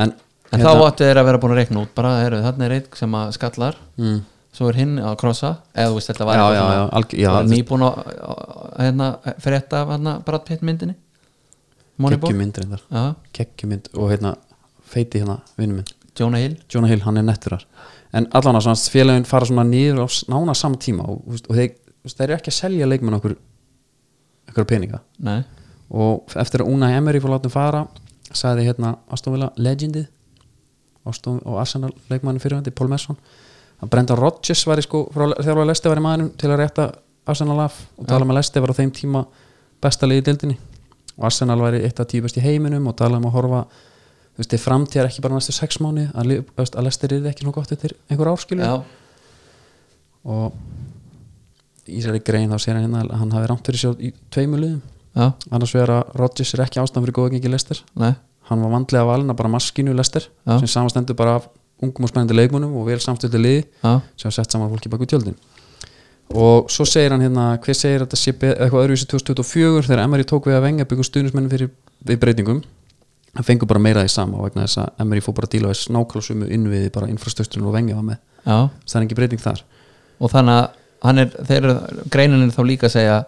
en, hérna-
En þá áttu þeir að vera búin að reikna út bara, heru, þannig er einn sem að skallar mm. svo er hinn að krossa eða þú veist þetta var
Já,
eitthvað
já, já, alg- já,
var
þú-
nýbúin að að- hérna, frétta af hérna Brad Pitt myndinni Moneyball
geggjum myndir þetta
Já,
geggjum mynd og hérna feiti hérna vinnu minn
Jonah Hill
Jonah Hill, hann er netturar en allan að svona félagin fara svona nýður á s- nána sama tíma og, og, og þeir, þú veist, þeir eru ekki að selja leikmenn okkur okkur peninga
Nei,
og eftir að Unai Emery fór látum fara sagði hérna Astonvilla legendið Aston, og Arsenal leikmannin fyrirvændi Paul Messon að Brendan Rodgers var í sko frá þjálfa Lesti var í maðurum til að rétta Arsenal af og tala um að Lesti var á þeim tíma besta liði í dildinni og Arsenal var eitt af tíu best í heiminum og tala um að horfa þú veist, til framtíðar ekki bara næstu sex mánu að, lið- þú veist, að Lesti er ekki nú gott eftir einhver árskilu
já,
og í þessari grein þá sér hann hérna að hann hafi rámt fyrir sér í tveimur liðum
já,
annars vegar að Rodgers er ekki ástæðan fyrir góða gengi Lester
nei,
hann var vandlega valin að bara maskinu Lester
Já.
sem samastendur bara af ungum og spennandi leikmunum og vel samstöðu liði
já,
sem var sett saman af fólki baku tjöldin og svo segir hann hérna hver segir að þetta sé be- eitthvað öðruvísi 2024 þegar Emery tók við að venga byggum stuðnismennin fyrir við breytingum hann fengur bara meira því sama vegna þess að Emery fór bara að díla þess nákvæmsumu innviði bara infrastrukturinn og vengi var með
já
það er engin breyting þar
og þannig að hann er, þeir eru greinin er þá líka að segja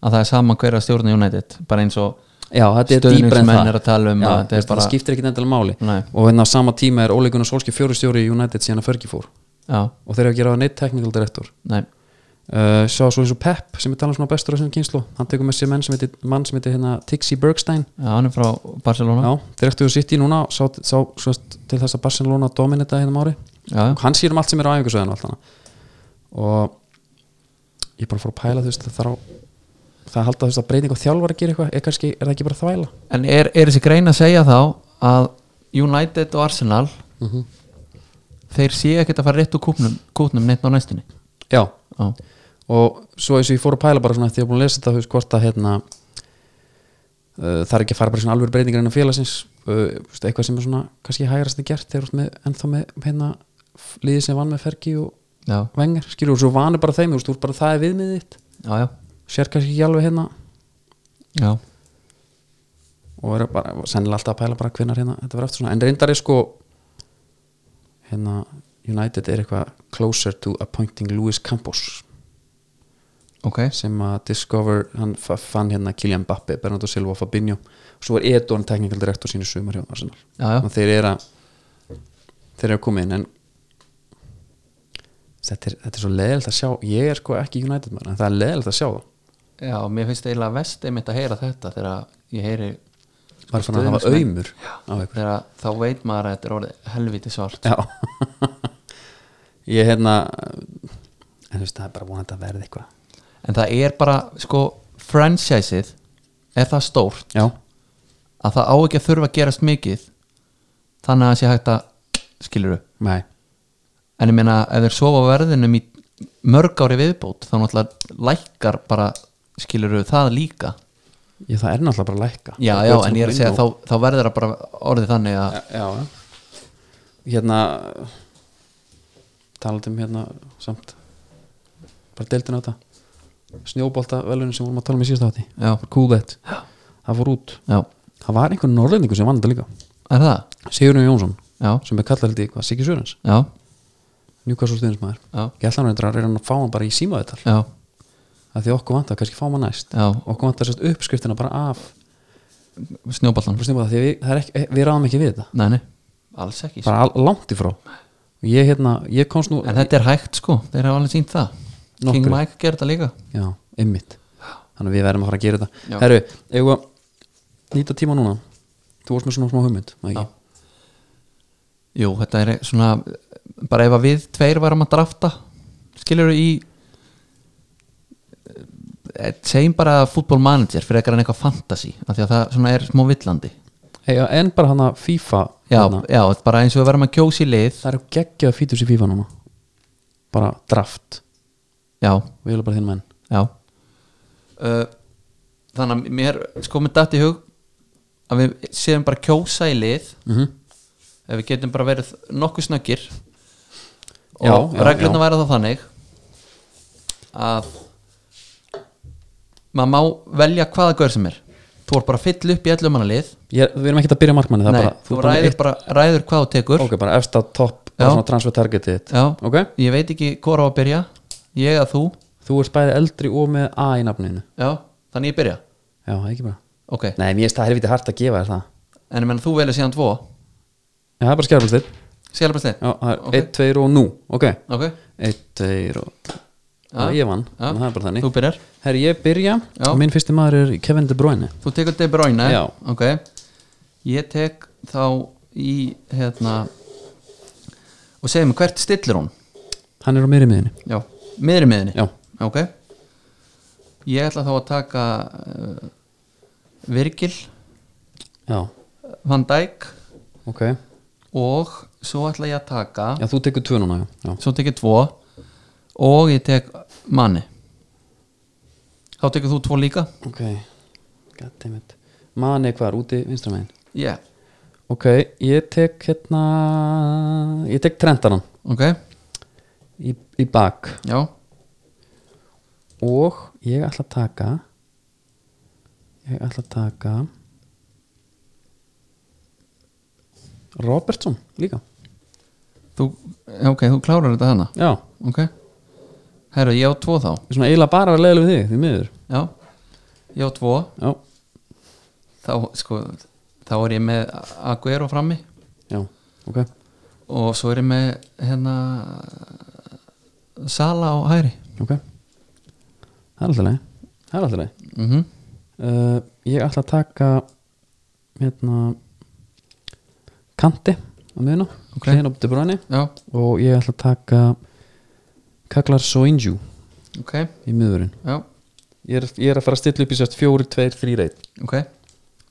að það er sama hverja stjórna United bara eins og
Já, þetta er
Stuðningsmenn
dýbra en það
eru að tala um
Já,
að þetta
þetta
er bara-
skiptir ekki endilega máli
Nei.
og hérna á sama tíma er óleikun og sólski fjórustjóri í United síðan að Fergie fór
já,
og þeir eru að gera það neitt technical director
nei,
uh, sjá svo eins og Pep sem er talað svona bestur á þessum kynslu hann tekur með sér menn sem heitir, mann sem heitir hérna, Tixi Bergstein
já, hann er frá Barcelona
Já, direktur sitt í núna sá, sá, sá, til þess að Barcelona dominita hérna um ári
Já.
og hann sér um allt sem er á æfingasöðinu og allt hana og ég er bara fór að pæla þú veist það þarf á- það að halda þú veist að breyting og þjálfar að gera eitthvað er, kannski, er það ekki bara þvæla
en er, er þessi grein að segja þá að United og Arsenal þeir sé ekkert að fara rétt úr kúpnum, kúpnum neitt á næstunni
Já,
já,
og svo eins og ég fór að pæla bara svona eftir að ég er búin að lesa þetta, þú veist hvort að hérna uh, það er ekki að fara bara í svona alveg breytingar innan félagsins uh, þú veist, eitthvað sem er svona kannski hægrasti gert þegar þú ert með, ennþá með hérna f- liðið sem vann með Fergi og
já,
Vengar, skilur þú, svo vanur bara þeim þú veist, þú ert bara það er viðmiðið þitt
já, já,
sér kannski ekki alveg hérna
já.
og er bara, sennilega alltaf að pæla bara hvenar hérna þetta verður eftir svona, en reyndar er sko hérna United er eitthvað closer to appointing Luis Campos
ok,
sem að Discover hann fa- fann hérna Kylian Mbappe, Bernardo Silva og Fabinho og svo er Edon teknikal direktor sínu sumar hjá Arsenal
Já, já.
og þeir eru að þeir eru að koma inn en þetta er, þetta er svo leðilt að sjá ég er sko ekki United maður en það er leðilt að sjá það
já, mér finnst eiginlega vest einmitt að heyra þetta þegar ég heyri
maður er fann að hafa
Stuðningsmenn.
auðmur á ykkur
þegar að- þá veit maður að þetta er orðið helviti svart
Já Ég hérna en þú veist það er bara vonandi að verða eitthvað
en það er bara, sko, franchiseið er það stórt
Já,
að það á ekki að þurfa að gerast mikið þannig að það sé hægt að skiluru,
nei
en ég meina ef þeir sofa á verðinum í mörg ári viðbót þá náttúrulega lækkar bara skiluru það líka
Ég, það er náttúrulega bara að lækka
já, já, en ég er að segja þá, þá verður það bara orðið þannig að
já, já. hérna talaðum hérna samt bara deildin á þetta snjóbolta velunin sem vorum að tala um í síðasta átti
Já.
cool that það fór út
já,
það var einhver norrlendingu sem vann þetta líka
er það?
Sigurinn Jónsson
já,
sem er kallar held í hvað Siggi Sörens
já,
Newcastle stuðnismæður
Já.
ég ætla hann reyndar að reyna að fá hann bara í símaðital
já,
að því okkur vantar kannski fá hann næst
Já.
okkur vantar sérst uppskriftina bara af
snjóballan
bara snjóbolta, því við, það er ekki, við ráðum ekki við þetta
nei, nei, alls ekki
bara al- langt í frá ég, hérna, ég komst nú
en þetta er hægt sko, þeir hafa alveg sínt það King
Nokkru.
Mike gerði það líka
Já, ymmit Þannig að við verðum að fara að gera
Já.
þetta Herru, eigum við að nýta tíma núna Þú varst með svona smá hugmynd var ekki?
Jú, þetta er svona bara ef að við tveir varum að drafta skilur í eh, segjum bara fútbol manager fyrir ekkert en eitthvað fantasy af því að það svona er smá villandi
Eiga, En bara hana FIFA
já,
hérna,
já, þetta er bara eins og við varum að kjósi lið
Það eru geggjað fítus í FIFA núna Bara draft
já,
Við erum bara þinn menn
já uh, þannig að mér sko með datt í hug að við séum bara að kjósa í lið
Mhm.
ef við getum bara verið nokkuð snöggir
Já,
og
já,
reglurna
já.
væri þá þannig að maður má velja hvaða gaur sem er þú er bara að fylla upp í ellum manna lið
ég, Við erum ekkert að byrja markmanni það
Nei,
er bara,
þú
ert bara með
ræður, bara, ræður hvað þú tekur
Ok, bara efst á topp
Já.
Bara svona transfer targetið þitt
Já,
Ok,
ég veit ekki hvora á að byrja ég að þú,
þú ert bæði eldri og með A í nafninu
já, þannig ég byrja
Já, ekki bara
ok,
Nei, mér finnst það helviti hart að gefa þér það
en ég menn þú velja síðan tvo
Já, það er bara skjárfælstir
Sjálfbærslein
Já, það er
Ok.
1, 2 og nú Ok
ok,
Eitt, tveir og Já, ég vann,
Já.
þannig að það er bara þannig
þú byrjar,
Herri, ég byrja,
Já.
og minn fyrsti maður er Kevin De Bruyne
þú tekur De Bruyne
Já.
ok, ég tek þá í hérna og segjum hvert stillir hún
Hann er á meiri miðinni
já, miðri miðinni
Já.
ok ég ætla þá að taka uh, Virgil
Já,
Van Dijk
ok Já,
og svo ætla ég að taka
þú tekur tvö núna, já, já.
svo tek ég tvo og ég tek manni þá tekur þú tvo líka
Ok, goddammit Mani hvar, úti vinstramegin
yeah.
Ok, ég tek hérna Ég tek trentanan
ok,
í, í bak
já
Og ég ætla að taka Ég ætla að taka Robertson líka
þú, já, ok, þú klárar þetta hana
Já,
ok, herru, ég á tvo þá
ég er svona eiginlega bara að leiða við þig Því miður
já, ég á tvo
Já,
þá, sko, þá er ég með Aguero frammi
já, ok
og svo er ég með hérna Sala á hæri
Ok Það er alltaf leið Það er alltaf leið
mm
uh, Ég ætla að taka hérna kanti á miðuna
Ok.
hliðina á De Bruyne
já,
og ég ætla að taka Kaklar Soinju
ok,
í miðurinn
já,
ég er, ég er að fara að stilla upp í sérst 4, 2, 3 reit
ok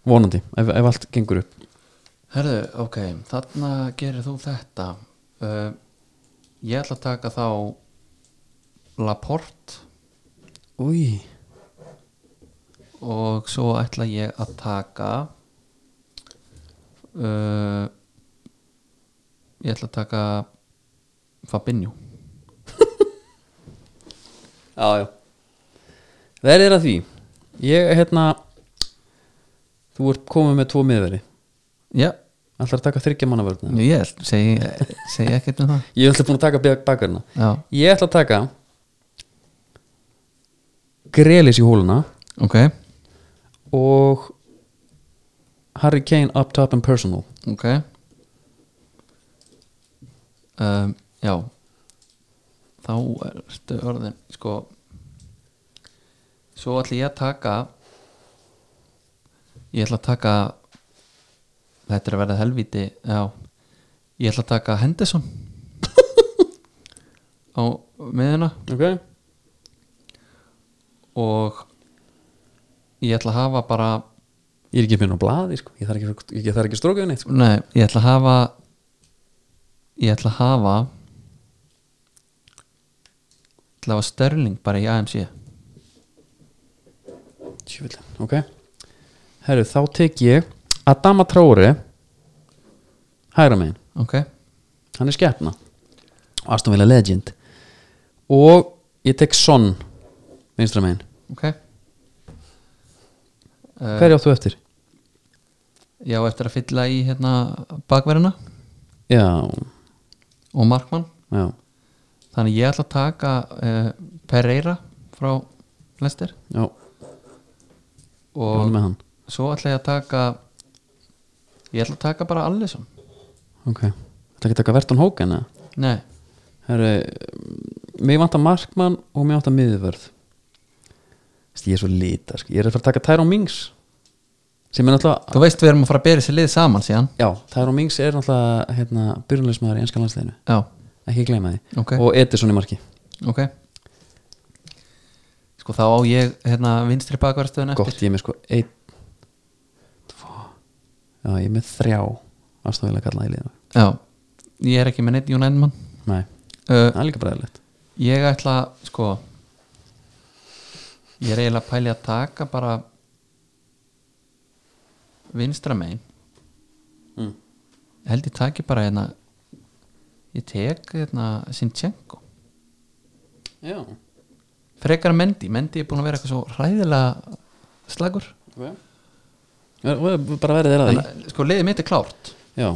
vonandi, ef, ef allt gengur upp
herru, ok, þarna gerir þú þetta uh, ég ætla að taka þá Laporte
Új,
og svo ætla ég að taka uh, ég ætla að taka Fabinho
já, já Verðir að því ég, hérna þú ert komið með tvo miðveri
já,
ætlar að taka þryggja manna vörðna
ég ætla- segi, segi ekkert um það
ég ætla búin að taka bakarna
já,
Ég ætla að taka Grelis í hóluna
ok,
og Harry Kane up top and personal
ok um, já þá ertu orðin sko svo ætla ég að taka ég ætla að taka þetta er að verða helvíti já, ég ætla að taka Henderson á miðuna
Ok
og ég ætla að hafa bara
Ég er ekki með á blaði sko Ég þarf ekki, ég þarf ekki að stróka henni neitt, sko.
Nei, ég ætla að hafa Ég ætla að hafa Ég ætla að hafa Sterling bara í AMC
Tjöfullinn, Ok Herru, þá tek ég Adama Traore Hægra megin
Ok,
Hann er skepna og Aston Villa legend og ég tek Son vinstra megin
ok Eh, uh,
Eh. Hverju áttu eftir?
Ég á eftir að fylla í hérna bakverðina
Já,
og Markmann
já
Þannig ég ætla að taka uh, Pereira frá Lester
Já,
og
hann með hann
svo ætla ég að taka Ég ætla að taka bara Allison
Ok, þetta ekki að taka Verton Hóken eða?
Nei,
Herru, mig vantar markmann og mig vantar miðvörð Þessi, ég er svo lita sko. Ég er að fara að taka Tyrone Mings sem er náttúrulega
þú veist við erum að fara að bera þessi lið saman síðan
Já, Tyrone Mings er náttúrulega hérna, byrjunleismæður í ennska landsleginu
Já,
ekki gleyma því
Ok.
og Edison í marki
ok sko þá á ég hérna vinstri bakverðstöðun eftir
Gott, ég er með sko einn tvo Já, ég er með þrjá aðstofilega kallaði í liðinu
já, ég er ekki með neitt Jón Ennmann
Nei,
uh,
það er líka bræðilegt
ég ætla sko ég er eiginlega að pæli að taka bara vinstra megin
Mm.
held ég taki bara hérna ég tek hérna Sinchenko
Já,
frekar en Mendy, Mendy er búin að vera eitthvað svo hræðilega slagur
ok Bara verið þeirra því
Þannig, að, sko liðið mitt er klárt
Já,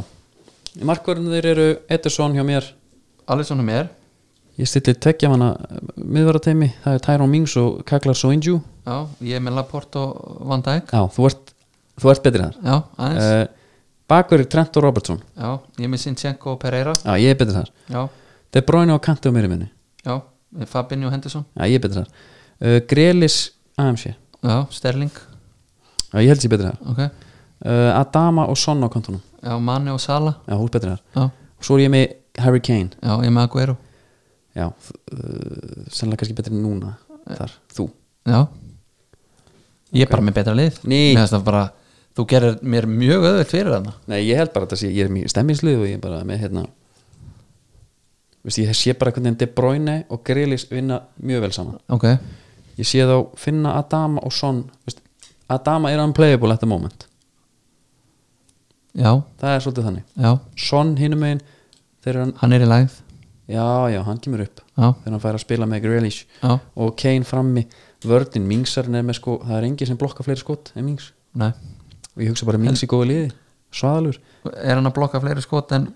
markverðin þeir eru Edison hjá mér
alveg svona mér
Ég stilli tekja manna miðvarateimi, það er Tyrone Mings og Kaklar Soinju
Já, ég er með Laporte og Van Dijk
Já, þú ert, þú ert betri þar
Já, aðeins
uh, Bakverðir Trent og Robertson
Já, ég er með Sinchenko og Pereira
Já, ég er betri þar
Já,
De Bruyne og Kanti og mér í minni
já, Fabinho Henderson
Já, ég er betri þar uh, Grelis AMC Já,
Já, Sterling
ég held sér betri þar
Ok,
uh, Adama og Son á kontunum
já, Mane og Sala
Já, þú ert betri þar
Já,
Og svo er ég með Harry Kane
já, ég er með Aguero
Já, uh, sennilega kannski betri núna þar, þú
Já Ég er bara með betra lið
Ný.
Mér finnst það bara Þú gerir mér mjög öðvöld fyrir þarna
Nei, ég held bara að þetta sé, ég er mjög stemmingslið og ég er bara með hérna Vist, ég sé bara hvernig De Bruyne og Grelis vinna mjög vel saman
Ok,
Ég sé þá finna Adama og Son Vist, Adama er unplayable at the moment
já,
það er svolítið þannig
já,
Son hinum megin þegar hann,
hann er í live
já já, hann kemur upp
já,
þegar hann fær að spila með Grealish
já,
og Kane frammi, vördin Mingsarinn er með sko, það er engin sem blokka fleiri skot en Mings
nei
og ég hugsa bara Mings í góðu liði, svaðalur
er hann að blokka fleiri skot en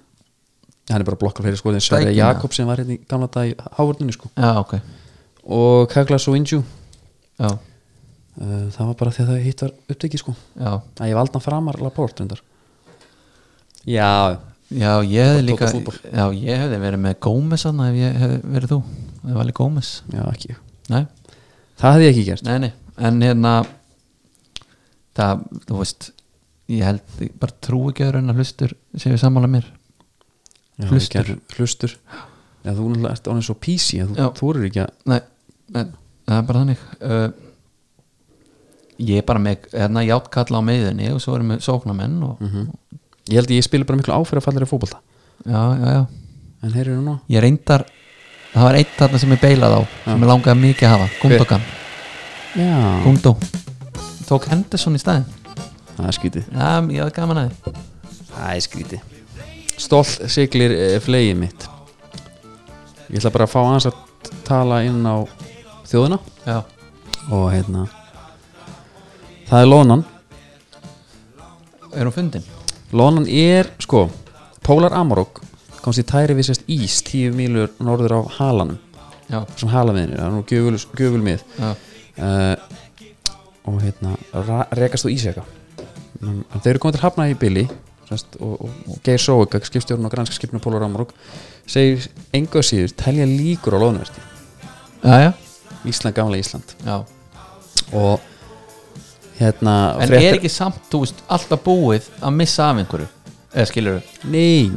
hann er bara að blokka fleiri skot en Sverre
Stækina.
Jakobsen var hérna í gamla dag í hávörninu sko
já, ok,
og Kagla Soinju,
já,
uh, það var bara því að það hitt var upptekið sko
já
að ég valdi hann framar Laport reyndar já,
já, ég hefði líka
Tóta fútbol.
já, ég hefði verið með Gómez hann ef ég hefði verið þú, ef ég valið Gómez
já ekki
nei,
það hefði ég ekki gert,
nei, nei, en hérna það, þú veist ég held, ég bara trú ekki öðru en að hlustur séu sammála mér
já,
Hlustur.
hlustur. hlustur já, þú náttúrulega ert ánum svo písi að þú
Já.
þorir ekki að
Nei, nei það er bara þannig uh, Ég er bara með hérna játkalla á meðinni og svo erum við sóknamenn og,
ég held að ég spila bara miklu áfyrrafallari fótbolta
Já, já, já
en heyrir nú ná
Ég reyndar, það var eitt þarna sem ég beilaði á sem ég langaði mikið að hafa, Gundogan
já,
Gundó Tók Henderson í staðin
það er skítið
Já, ég hafði gaman að þið
það er skítið stolt siglir eh, flegið mitt ég ætla bara að fá hans að tala inn á þjóðina
Já,
og hérna það er lónan
er hún fundin?
Lónan er, sko, Pólar Amarok komst í tæri við sérst ís tíu mílur norður af halanum
Já,
sem halamiðinir, það er nú gjöful, gjöful mið
já,
uh, og hérna ra- rekast þú ísjaka um, þeir eru komið til hafna í bili sérst, og, og, og Geir Sóegag, skipstjórn og grænska skipna Pólar Amarok segir enga síður telja líkur á lónverti
já, já,
Ísland, gamla Ísland
já.
og hérna
En
fréttir-
er ekki samt, þú veist, alltaf búið að missa af einhverju eða skilur
Nei,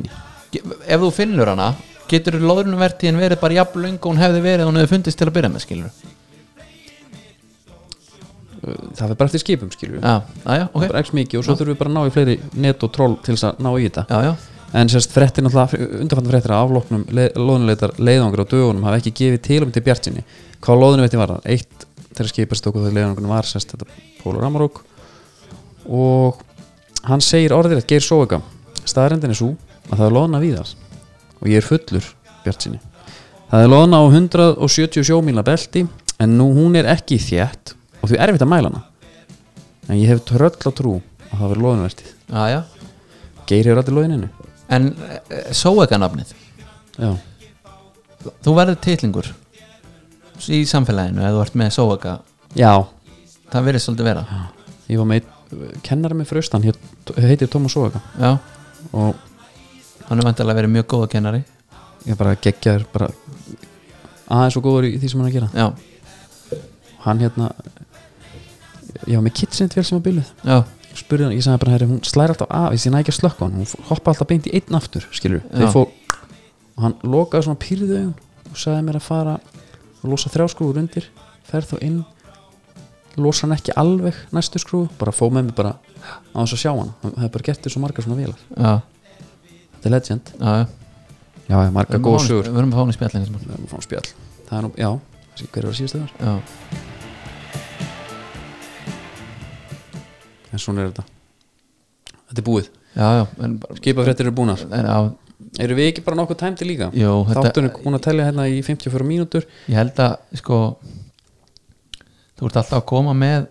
Ge- ef þú finnur hana getur loðrunvertíðin verið bara jafn löng og hún hefði verið og hún hefði fundist til að byrja með skilur
það fyrir bara eftir skipum skilur við
já, já, já, ok
bara ekki mikið og svo þurfum við bara að ná í fleiri net og troll til þess að ná í þetta
já, já,
en sérst frettir náttúrulega undanfann frettir að afloknum loðunleitar leiðangur á dögunum hafa ekki gefið tilum til bjartinni hvað loðunveiti var það? Eitt þegar skipast okkur þegar leiðangunum var sérst þetta Pólur Amarok og hann segir orðir að geir sóega staðarendin er svo að það er loðna víðar og ég er fullur bjartinni það er loðna á 177 míla belti en nú hún er ekki þjætt og því erfitt að mæla hana en ég hef tröll á trú að það verður loðunvertið
já, já.
Geir hefur aldrei loðininu
en eh, sóega nafnið
Já
þú verður titlingur í samfélaginu ef þú ert með sóega
Já,
það verið svolítið vera já,
ég var með eh, kennari með fröstan, hér heitir Tómas Sóega og
hann er vantilega verið mjög góða kennari
ég bara geggjaður bara aðeins og góður í því sem hann er að gera
já,
hann hérna ég var með kitsinett vel sem var bíluð
já,
spurði hann, ég sagði bara, herri, hún slæri alltaf af ég sé nægja slökk á hann, hún hoppa alltaf beint í einn aftur skilur,
Já.
þeir fór og hann lokaði svona pýrðu augun og sagði mér að fara og losa þrjá skrúfur undir fer þá inn losa hann ekki alveg næstu skrúfu bara fó með mér bara á þess að sjá hann hann hefði bara gert þér svo margar svona vélar
já,
þetta er legend,
já, já.
já, já margar góð sögur
við erum að fá hún í spjallin
við erum frá spjall það er nú, já, þessi- hver var síðustu þar
já,
en svona er þetta þetta er búið,
já, já, en bara
skipafréttir eru búnar
en á,
eru við ekki bara nokkuð tæmdi líka?
jú, þetta,
þáttunum hún að telja hérna í 54 mínútur
ég held að sko þú ert alltaf að koma með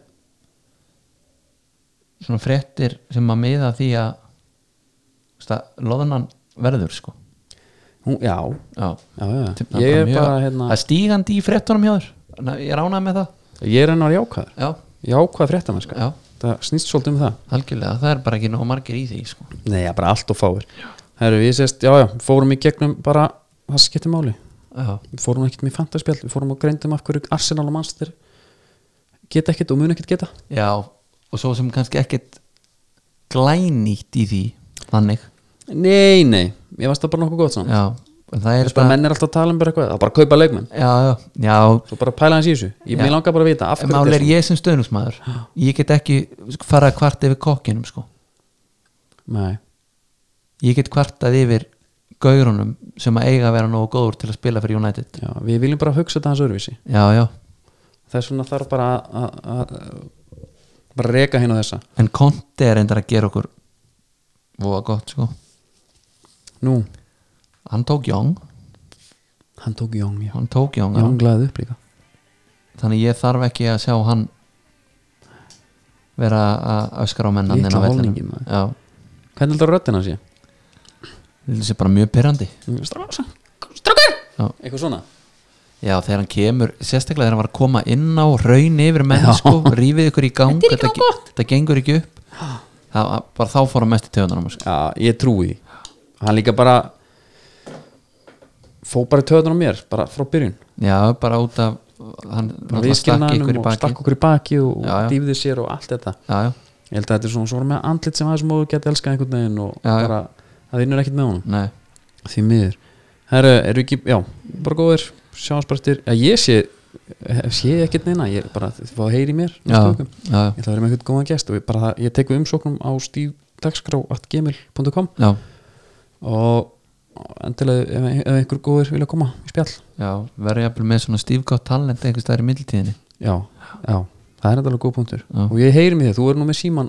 svona fréttir sem að miða að því að þú veist að loðunan verður sko
hún, já,
já,
já, já, já.
Það
ég er
mjög-
bara hérna,
það er stígandi í fréttunum hjá þér Ná, ég ránaði með það
ég er hennar jákvæður
já,
jákvæð fréttamennska,
já,
það snýst svolítið um það
algjörlega, það er bara ekki nóg margir í því sko
nei, já, bara allt og fáir herru, við sést, já, já, fórum í gegnum bara, það skiptir máli
já,
við fórum ekkert með fantaspjall, við fórum og greindum af hverju Arsenal og Manchester geta ekkert og mun ekkert geta
já, og svo sem kannski ekkert glænýtt í því þannig,
nei, nei, ég varst það bara nokkuð gott saman
já, en það er
þess bara menn er alltaf að tala um bara eitthvað, það er bara að kaupa leikmenn
já, já, já,
svo bara pæla hans í þessu, ég
Já.
mig langar bara að vita af
En
hverju
Mál
þetta
er ég sem stöðnusmaður Ég get ekki fara að kvarta yfir kokkinum sko.
svona. nei,
Ég get kvartað yfir gaurunum sem að eiga að vera nógu góður til að spila fyrir United
já, við viljum bara hugsa þetta hans öðruvísi
Já, já,
þess vegna þarf bara að- að að bara reka hinn á þessa
en Conte er reyndar að gera okkur voða gott sko
nú,
hann tók Young,
hann tók Jón já.
hann tók Young,
Jón glæði upp líka
þannig ég þarf ekki að sjá hann vera að öskra á mennan
Litla
inn á
holningin,
vellinum
maður.
já,
hvernig heldur röddina hans ég?
þetta er bara mjög pyrrandi
strákar strákar!
Já.
eitthvað svona
já, þegar hann kemur, sérstaklega þegar hann var að koma inn á raun yfir menn sko, rífið ykkur í gang
Þetta er ekki nógu
ge- þetta gengur ekki upp það, bara þá fór hann mest í töðunum sko.
Já, ég trúi því Hann líka bara Fó bara töðan á mér, bara frá byrjun
já, bara út af hann
Við
náttúrulega stakk
skilnaðanum
ykkur í
og
baki
stakk okkur í baki og
Já, já.
dýfði sér og allt þetta
já, já,
Ég held að þetta er svona svona með andlit sem aðeins móðu geti elskað einhvern veginn og
Já, já.
bara það vinnur ekkert með honum
nei,
Því miður Herru, eru ekki, já, bara góðir Sjáum bara eftir, já ég sé hef- sé ekkert neina, ég er bara, þið fá að heyri mér
já,
næstu vikum.
já,
Ég ætla að vera með eitthvað góðan gest og ég, bara, það- ég tek við umsóknum á stífdagskrá.gmail.com
já,
og endilega ef, ef einhver góður vilja koma í spjall
já verið jafnvel með svona stífgátt talent einhvers staðar í mildtíðinni
já, já, það er endalega góð punktur
Já.
og ég heyri mér því, þú er nú með síman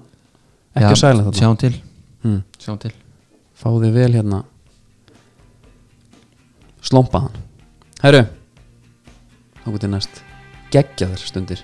ekki að sæla þetta
sjáum til,
hmm.
sjáum til
fá þig vel hérna slompa hann herru, þá til næst geggja þér stundir